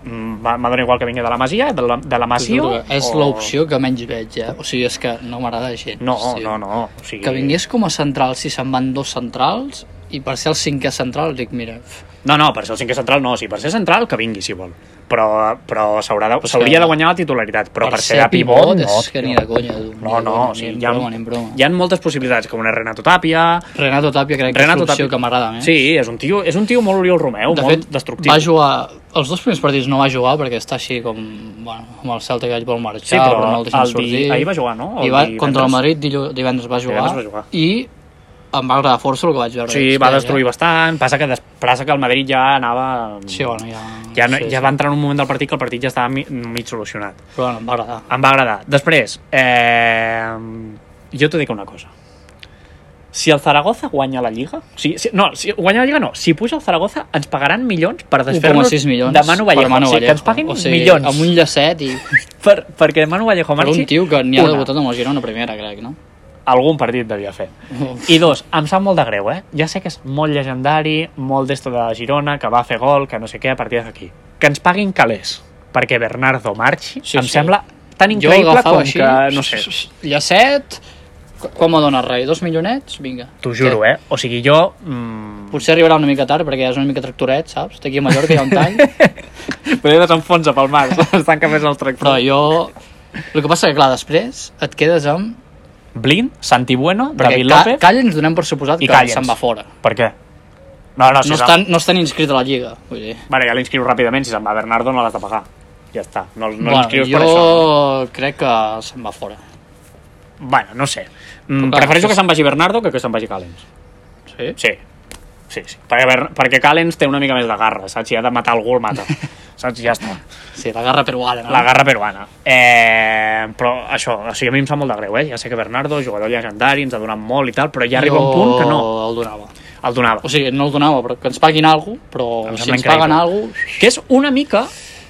S1: Mm, m'a- m'adona igual que vingui de la Masia de la, de la Masia
S3: És l'opció que menys veig, eh? O sigui, és que no m'agrada gens.
S1: no,
S3: sí.
S1: no, no o sigui...
S3: Que vingués com a central si se'n van dos centrals i per ser el cinquè central dic, mira, pf,
S1: No, no, per ser el cinquè central no, sí, per ser central que vingui si vol, però, però s'haurà de- s'hauria de,
S3: que-
S1: de guanyar la titularitat, però per, ser, de pivot, no.
S3: és que ni
S1: tio.
S3: de conya. tu, ni
S1: No,
S3: de
S1: no,
S3: conya,
S1: o sigui,
S3: ni
S1: hi ha,
S3: en broma, ni en broma.
S1: hi ha moltes possibilitats, com una Renato Tapia...
S3: Renato Tapia crec que
S1: Renato
S3: és l'opció
S1: Tapia.
S3: que m'agrada més.
S1: Sí, és un tio, és un tio molt Oriol Romeu,
S3: de
S1: molt
S3: fet,
S1: destructiu.
S3: va jugar... Els dos primers partits no va jugar perquè està així com... Bueno, amb el Celta que ell vol marxar,
S1: Sí, però
S3: no el deixen
S1: el di-
S3: sortir.
S1: ahir va jugar, no? El
S3: I va,
S1: divendres.
S3: contra el Madrid dillo- divendres va jugar.
S1: Divendres va jugar.
S3: I em va agradar força el que vaig veure. eh?
S1: Sí, va destruir bastant, passa que, des, passa que el Madrid ja anava...
S3: Sí, bueno, ja...
S1: ja, no,
S3: sí,
S1: ja
S3: sí.
S1: va entrar en un moment del partit que el partit ja estava mi, mig solucionat.
S3: Però bueno, em va agradar.
S1: Em va agradar. Després, eh, jo t'ho dic una cosa. Si el Zaragoza guanya la Lliga... Si, si, no, si guanya la Lliga no. Si puja el Zaragoza, ens pagaran milions per desfer-nos
S3: 1,6 milions
S1: de Manu Vallejo.
S3: per Manu
S1: o sigui, que ens
S3: Vallejo.
S1: paguin
S3: o sigui,
S1: milions.
S3: Amb un llacet i
S1: Per, perquè Manu Vallejo
S3: per
S1: marxi...
S3: un tio que n'hi ha
S1: una,
S3: debutat amb el Girona primera, crec, no?
S1: Algun partit devia fer. I dos, em sap molt de greu, eh? Ja sé que és molt legendari, molt d'esto de Girona, que va fer gol, que no sé què, a partir d'aquí. Que ens paguin calés perquè Bernardo marxi,
S3: Sí,
S1: em
S3: sí.
S1: sembla tan
S3: Jo
S1: increïble
S3: agafava
S1: com
S3: així,
S1: que, no sé,
S3: llacet, Qu- Quan me dones res? Dos milionets? Vinga.
S1: T'ho juro, eh? O sigui, jo... Mm,
S3: Potser arribarà una mica tard perquè ja és una mica tractoret, saps? D'aquí a Mallorca hi ha
S1: [laughs]
S3: un tall.
S1: Poder desenfonsa pel [laughs] mar, es tanca més el
S3: Però
S1: tractor.
S3: jo... El que passa que, clar, després et quedes amb...
S1: Blind, Santi Bueno,
S3: Perquè
S1: David
S3: Ca-
S1: López...
S3: Callens donem per suposat
S1: I
S3: que
S1: Callens.
S3: se'n va fora.
S1: Per què? No, no, si se'n-
S3: No estan, no estan inscrits a la Lliga. Vull dir.
S1: Vale, ja l'inscriu ràpidament, si se'n va Bernardo no l'has de pagar. Ja està, no, no
S3: bueno,
S1: l'inscrius
S3: jo
S1: per això.
S3: crec que se'n va fora.
S1: Bueno, no sé. Mm,
S3: Però clar,
S1: prefereixo
S3: és-
S1: que se'n vagi Bernardo que que se'n vagi Callens.
S3: Sí?
S1: Sí, sí, sí. Perquè, Ber- perquè Callens té una mica més de garra, saps? Si ha de matar algú, el [laughs] mata. Saps? Ja està.
S3: Sí, la garra peruana. No?
S1: Ah. La garra peruana. Eh, però això, o sigui, a mi em sap molt de greu, eh? Ja sé que Bernardo, jugador legendari, ens ha donat molt i tal, però ja arriba un punt que no
S3: el donava.
S1: el donava.
S3: O sigui, no el donava, però que ens paguin alguna cosa, però
S1: Em
S3: si
S1: sembla
S3: ens paguen
S1: increïble. Eh,
S3: alguna cosa...
S1: Que és una mica,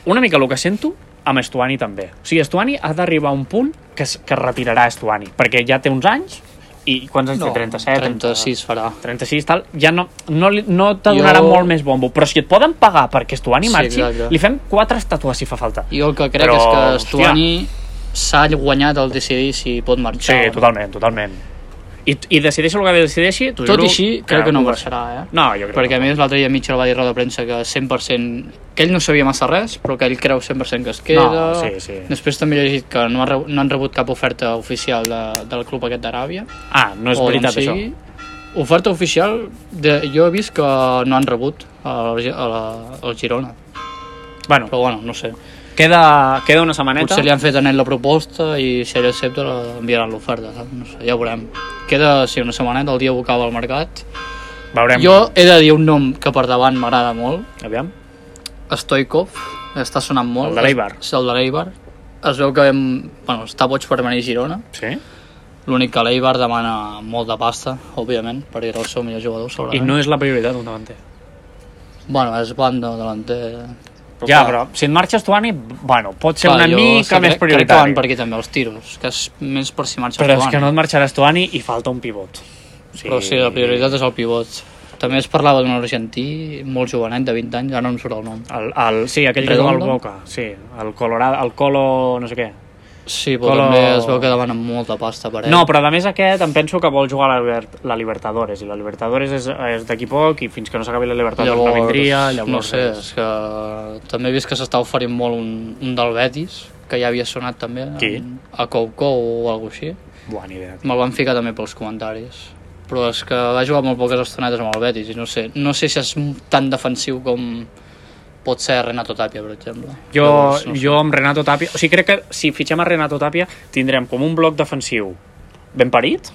S1: una mica el que sento amb Estuani també. O sigui, Estuani ha d'arribar a un punt que, es, que es retirarà Estuani, perquè ja té uns anys i quants anys té? 37?
S3: 36 farà.
S1: 36 tal, ja no, no, li- no te donarà
S3: Jo-
S1: molt més bombo, però si et poden pagar perquè Estuani
S3: Sí,
S1: marxi,
S3: exacte.
S1: li fem quatre estàtues si fa falta.
S3: Jo el que crec
S1: Però,
S3: però, és que
S1: hòstia.
S3: Estuani s'ha guanyat el decidir si pot
S1: Sí,
S3: marxar. o no.
S1: totalment, totalment. I, I decideixi el que decideixi, t'ho
S3: Tot
S1: juro
S3: i així, crec que no
S1: ho va-
S3: marxarà, eh?
S1: No, jo crec
S3: Perquè a
S1: que no.
S3: més l'altre dia Mitchell va dir a roda de premsa que 100%... que ell no sabia massa res, però que ell creu 100% que es queda.
S1: No, sí, sí.
S3: Després també he llegit que no, ha, re- no han rebut cap oferta oficial de, del club aquest d'Aràbia.
S1: Ah, no és
S3: o
S1: veritat,
S3: d'on
S1: això.
S3: sigui. Oferta oficial, de, jo he vist que no han rebut al a la, al Girona.
S1: Bueno,
S3: Però bueno, no sé.
S1: queda, queda una setmaneta.
S3: Potser li han fet a ell la proposta i si ell accepta la- enviaran l'oferta, saps? No sé, ja ho veurem. Queda, sí, una setmaneta, el dia bocava al mercat.
S1: Veurem.
S3: Jo he de dir un nom que per davant m'agrada molt,
S1: Aviam.
S3: Stoikov, està sonant molt.
S1: El de l'Eibar.
S3: Sí, el de l'Eibar. Es veu que hem, bueno, està boig per venir a Girona.
S1: Sí?
S3: L'únic que l'Eibar demana molt de pasta, òbviament, per era el seu millor jugador,
S1: I
S3: segurament.
S1: no és la prioritat un davanter.
S3: Bueno, és banda delanter...
S1: Ja, però si et marxes tu, Ani, bueno, pot ser
S3: clar,
S1: una
S3: jo
S1: mica
S3: crec-
S1: més
S3: Crec que van
S1: prioritari.
S3: per aquí també els tiros, que és més per si marxa
S1: Però és
S3: Joan.
S1: que no et marxaràs tu, Ani, i falta un pivot. Sí.
S3: Però sí, la prioritat és el pivot. També es parlava d'un argentí molt jovenet, de 20 anys, ara no em surt el nom.
S1: El, el, sí, aquell que juga al
S3: Redondo?
S1: Boca. Sí, el Colorado, el Colo... no sé què.
S3: Sí, però
S1: Colo-
S3: també es veu que demanen molta pasta per ell.
S1: No, però a més aquest em penso que vol jugar a la, Liber- la Libertadores, i la Libertadores és, és d'aquí poc, i fins que no s'acabi tota la Libertadores
S3: llavors,
S1: no vindria, llavors...
S3: no sé,
S1: és-
S3: és que també he vist que s'està oferint molt un, un del Betis, que ja havia sonat també
S1: Qui?
S3: a Coucou o alguna així.
S1: Buah, ni idea.
S3: Me'l van ficar també pels comentaris. Però és que va jugar molt poques estonetes amb el Betis i no sé, no sé si és tan defensiu com pot ser Renato Tapia, per exemple.
S1: Jo,
S3: Llavors, no sé.
S1: jo amb Renato Tapia... O sigui, crec que si fitxem a Renato Tapia tindrem com un bloc defensiu ben parit,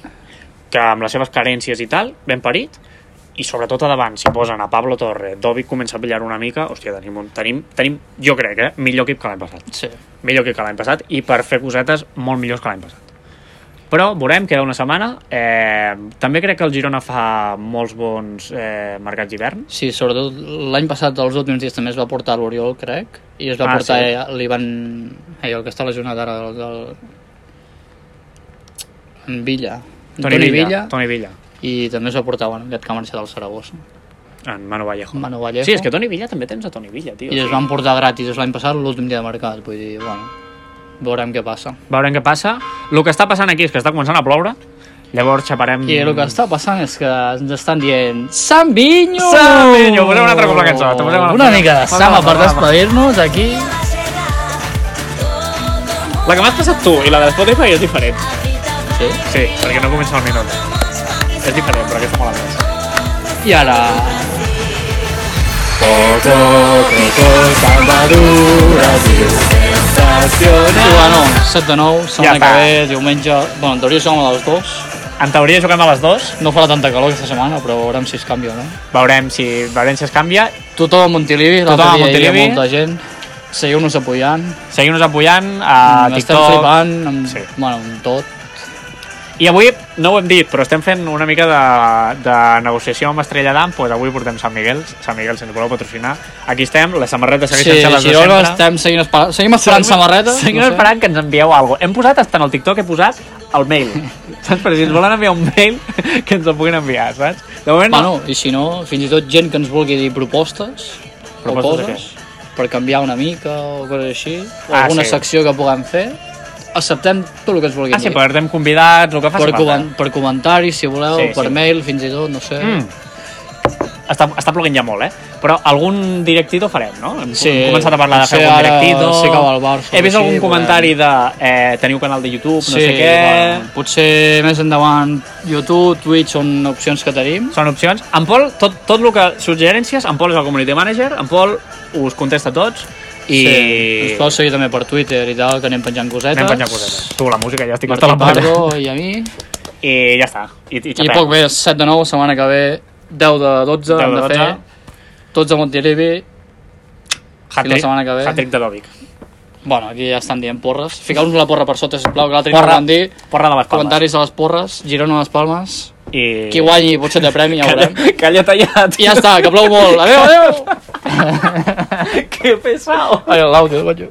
S1: que amb les seves carències i tal, ben parit, i sobretot a davant, si posen a Pablo Torre, Dovi comença a pillar una mica, hòstia, tenim, un, tenim, tenim jo crec, eh, millor equip que l'any passat.
S3: Sí.
S1: Millor equip que l'any passat i per fer cosetes molt millors que l'any passat. Però veurem, queda una setmana. Eh, també crec que el Girona fa molts bons eh, mercats d'hivern.
S3: Sí, sobretot l'any passat, els últims dies, també es va portar l'Oriol, crec, i es
S1: Ah,
S3: va ah, portar
S1: sí.
S3: sí. l'Ivan... Ai, el que està lesionat ara del... del... En Villa. En
S1: Toni Villa.
S3: I també es va portar, bueno, aquest que ha marxat al Saragossa.
S1: En Manu Vallejo.
S3: Manu Vallejo.
S1: Sí, és que Toni Villa també tens a Toni Villa, tio.
S3: I es van portar gratis l'any passat, l'últim dia de mercat. Vull dir, bueno, veurem què passa.
S1: Veurem què passa. El que està passant aquí és que està començant a ploure. Llavors xaparem...
S3: I el que està passant és que ens estan dient San Vinyo!
S1: San Vigno! Posem un altre cop la cançó, te posem una-
S3: Una mica de
S1: Posem
S3: samba
S1: una
S3: per
S1: altra,
S3: despedir-nos aquí.
S1: La que m'has passat tu i la de Spotify és diferent.
S3: Sí.
S1: Sí, perquè no comença al minut. És diferent, però aquesta mola més.
S3: I ara... Bueno, 7 de 9,
S1: Ja
S3: setmana que
S1: està.
S3: ve, diumenge... Bueno, en teoria som a les 2.
S1: En teoria juguem a les dues.
S3: No farà tanta calor aquesta setmana, però veurem si es canvia o no.
S1: Veurem si, veurem si es canvia.
S3: Tothom a Montilivi, l'altre
S1: Tothom a
S3: dia hi havia
S1: Montilivi.
S3: molta gent. Seguiu-nos apoyant.
S1: Seguim-nos apoyant a
S3: Mm, Estem
S1: TikTok.
S3: flipant amb,
S1: Sí.
S3: bueno, amb tot.
S1: I avui, no ho hem dit, però estem fent una mica de, de negociació amb Estrella d'Am, doncs avui portem Sant Miguel, Sant Miguel, si ens voleu patrocinar. Aquí estem, les samarretes segueixen
S3: Sí,
S1: sent les de
S3: Girona
S1: sempre.
S3: estem seguint esperant, seguim esperant samarreta.
S1: Seguim esperant que ens envieu alguna cosa. Hem posat, hasta en el TikTok, he posat el mail.
S3: [laughs]
S1: Saps? Però si ens volen enviar un mail, [laughs] que ens el puguin enviar, saps? De moment, no.
S3: Bueno, i si no, fins i tot gent que ens vulgui dir propostes,
S1: Propostes
S3: o
S1: de
S3: coses, per canviar una mica o coses així, o
S1: Ah,
S3: alguna
S1: sí.
S3: secció que puguem fer, acceptem tot el que ens vulguin
S1: Ah, sí,
S3: dir.
S1: portem convidats, el que faci
S3: per,
S1: falta.
S3: comen per comentaris, si voleu,
S1: Sí,
S3: sí,
S1: sí.
S3: per sí. mail, fins i tot, no sé.
S1: Mm. Està, està ploguent ja molt, eh? Però algun directito farem, no? Hem
S3: Sí.
S1: com- començat a parlar de fer
S3: Sí,
S1: algun
S3: ara
S1: directito.
S3: sí que va al Barça,
S1: He vist
S3: sí,
S1: algun
S3: volem.
S1: comentari de... Eh, teniu canal de YouTube, no sé què...
S3: Bueno, potser més endavant YouTube, Twitch són opcions que tenim.
S1: Són opcions. En Pol, tot, tot el que... Suggerències, en Pol és el community manager, en Pol us contesta a tots i...
S3: Sí. Ens podeu seguir també per Twitter i tal, que anem penjant cosetes.
S1: Anem penjant cosetes. Tu, la música, ja estic hasta
S3: Martí
S1: la palla.
S3: Pardo i a mi.
S1: I ja està. I, i
S3: I
S1: xapem.
S3: poc més, 7 de 9, setmana que ve, 10 de 12,
S1: 10 de
S3: hem de
S1: 12.
S3: fer. 12 a Montilivi.
S1: Hat-trick-
S3: I la setmana que ve.
S1: Hat-trick de Dovic.
S3: Bueno, aquí ja estan dient porres. Fiqueu-nos la porra per sota, sisplau, que l'altre dia no
S1: Porra,
S3: van dir.
S1: porra de les palmes.
S3: Comentaris a les porres, Girona a les Palmes.
S1: I...
S3: Qui guanyi potser té premi, ja ho
S1: [laughs] Calla,
S3: veurem.
S1: calla tallat.
S3: I ja
S1: [laughs]
S3: està, que plou molt. Adéu, adéu!
S1: Que pesado.
S3: Ai, l'àudio, guanyo.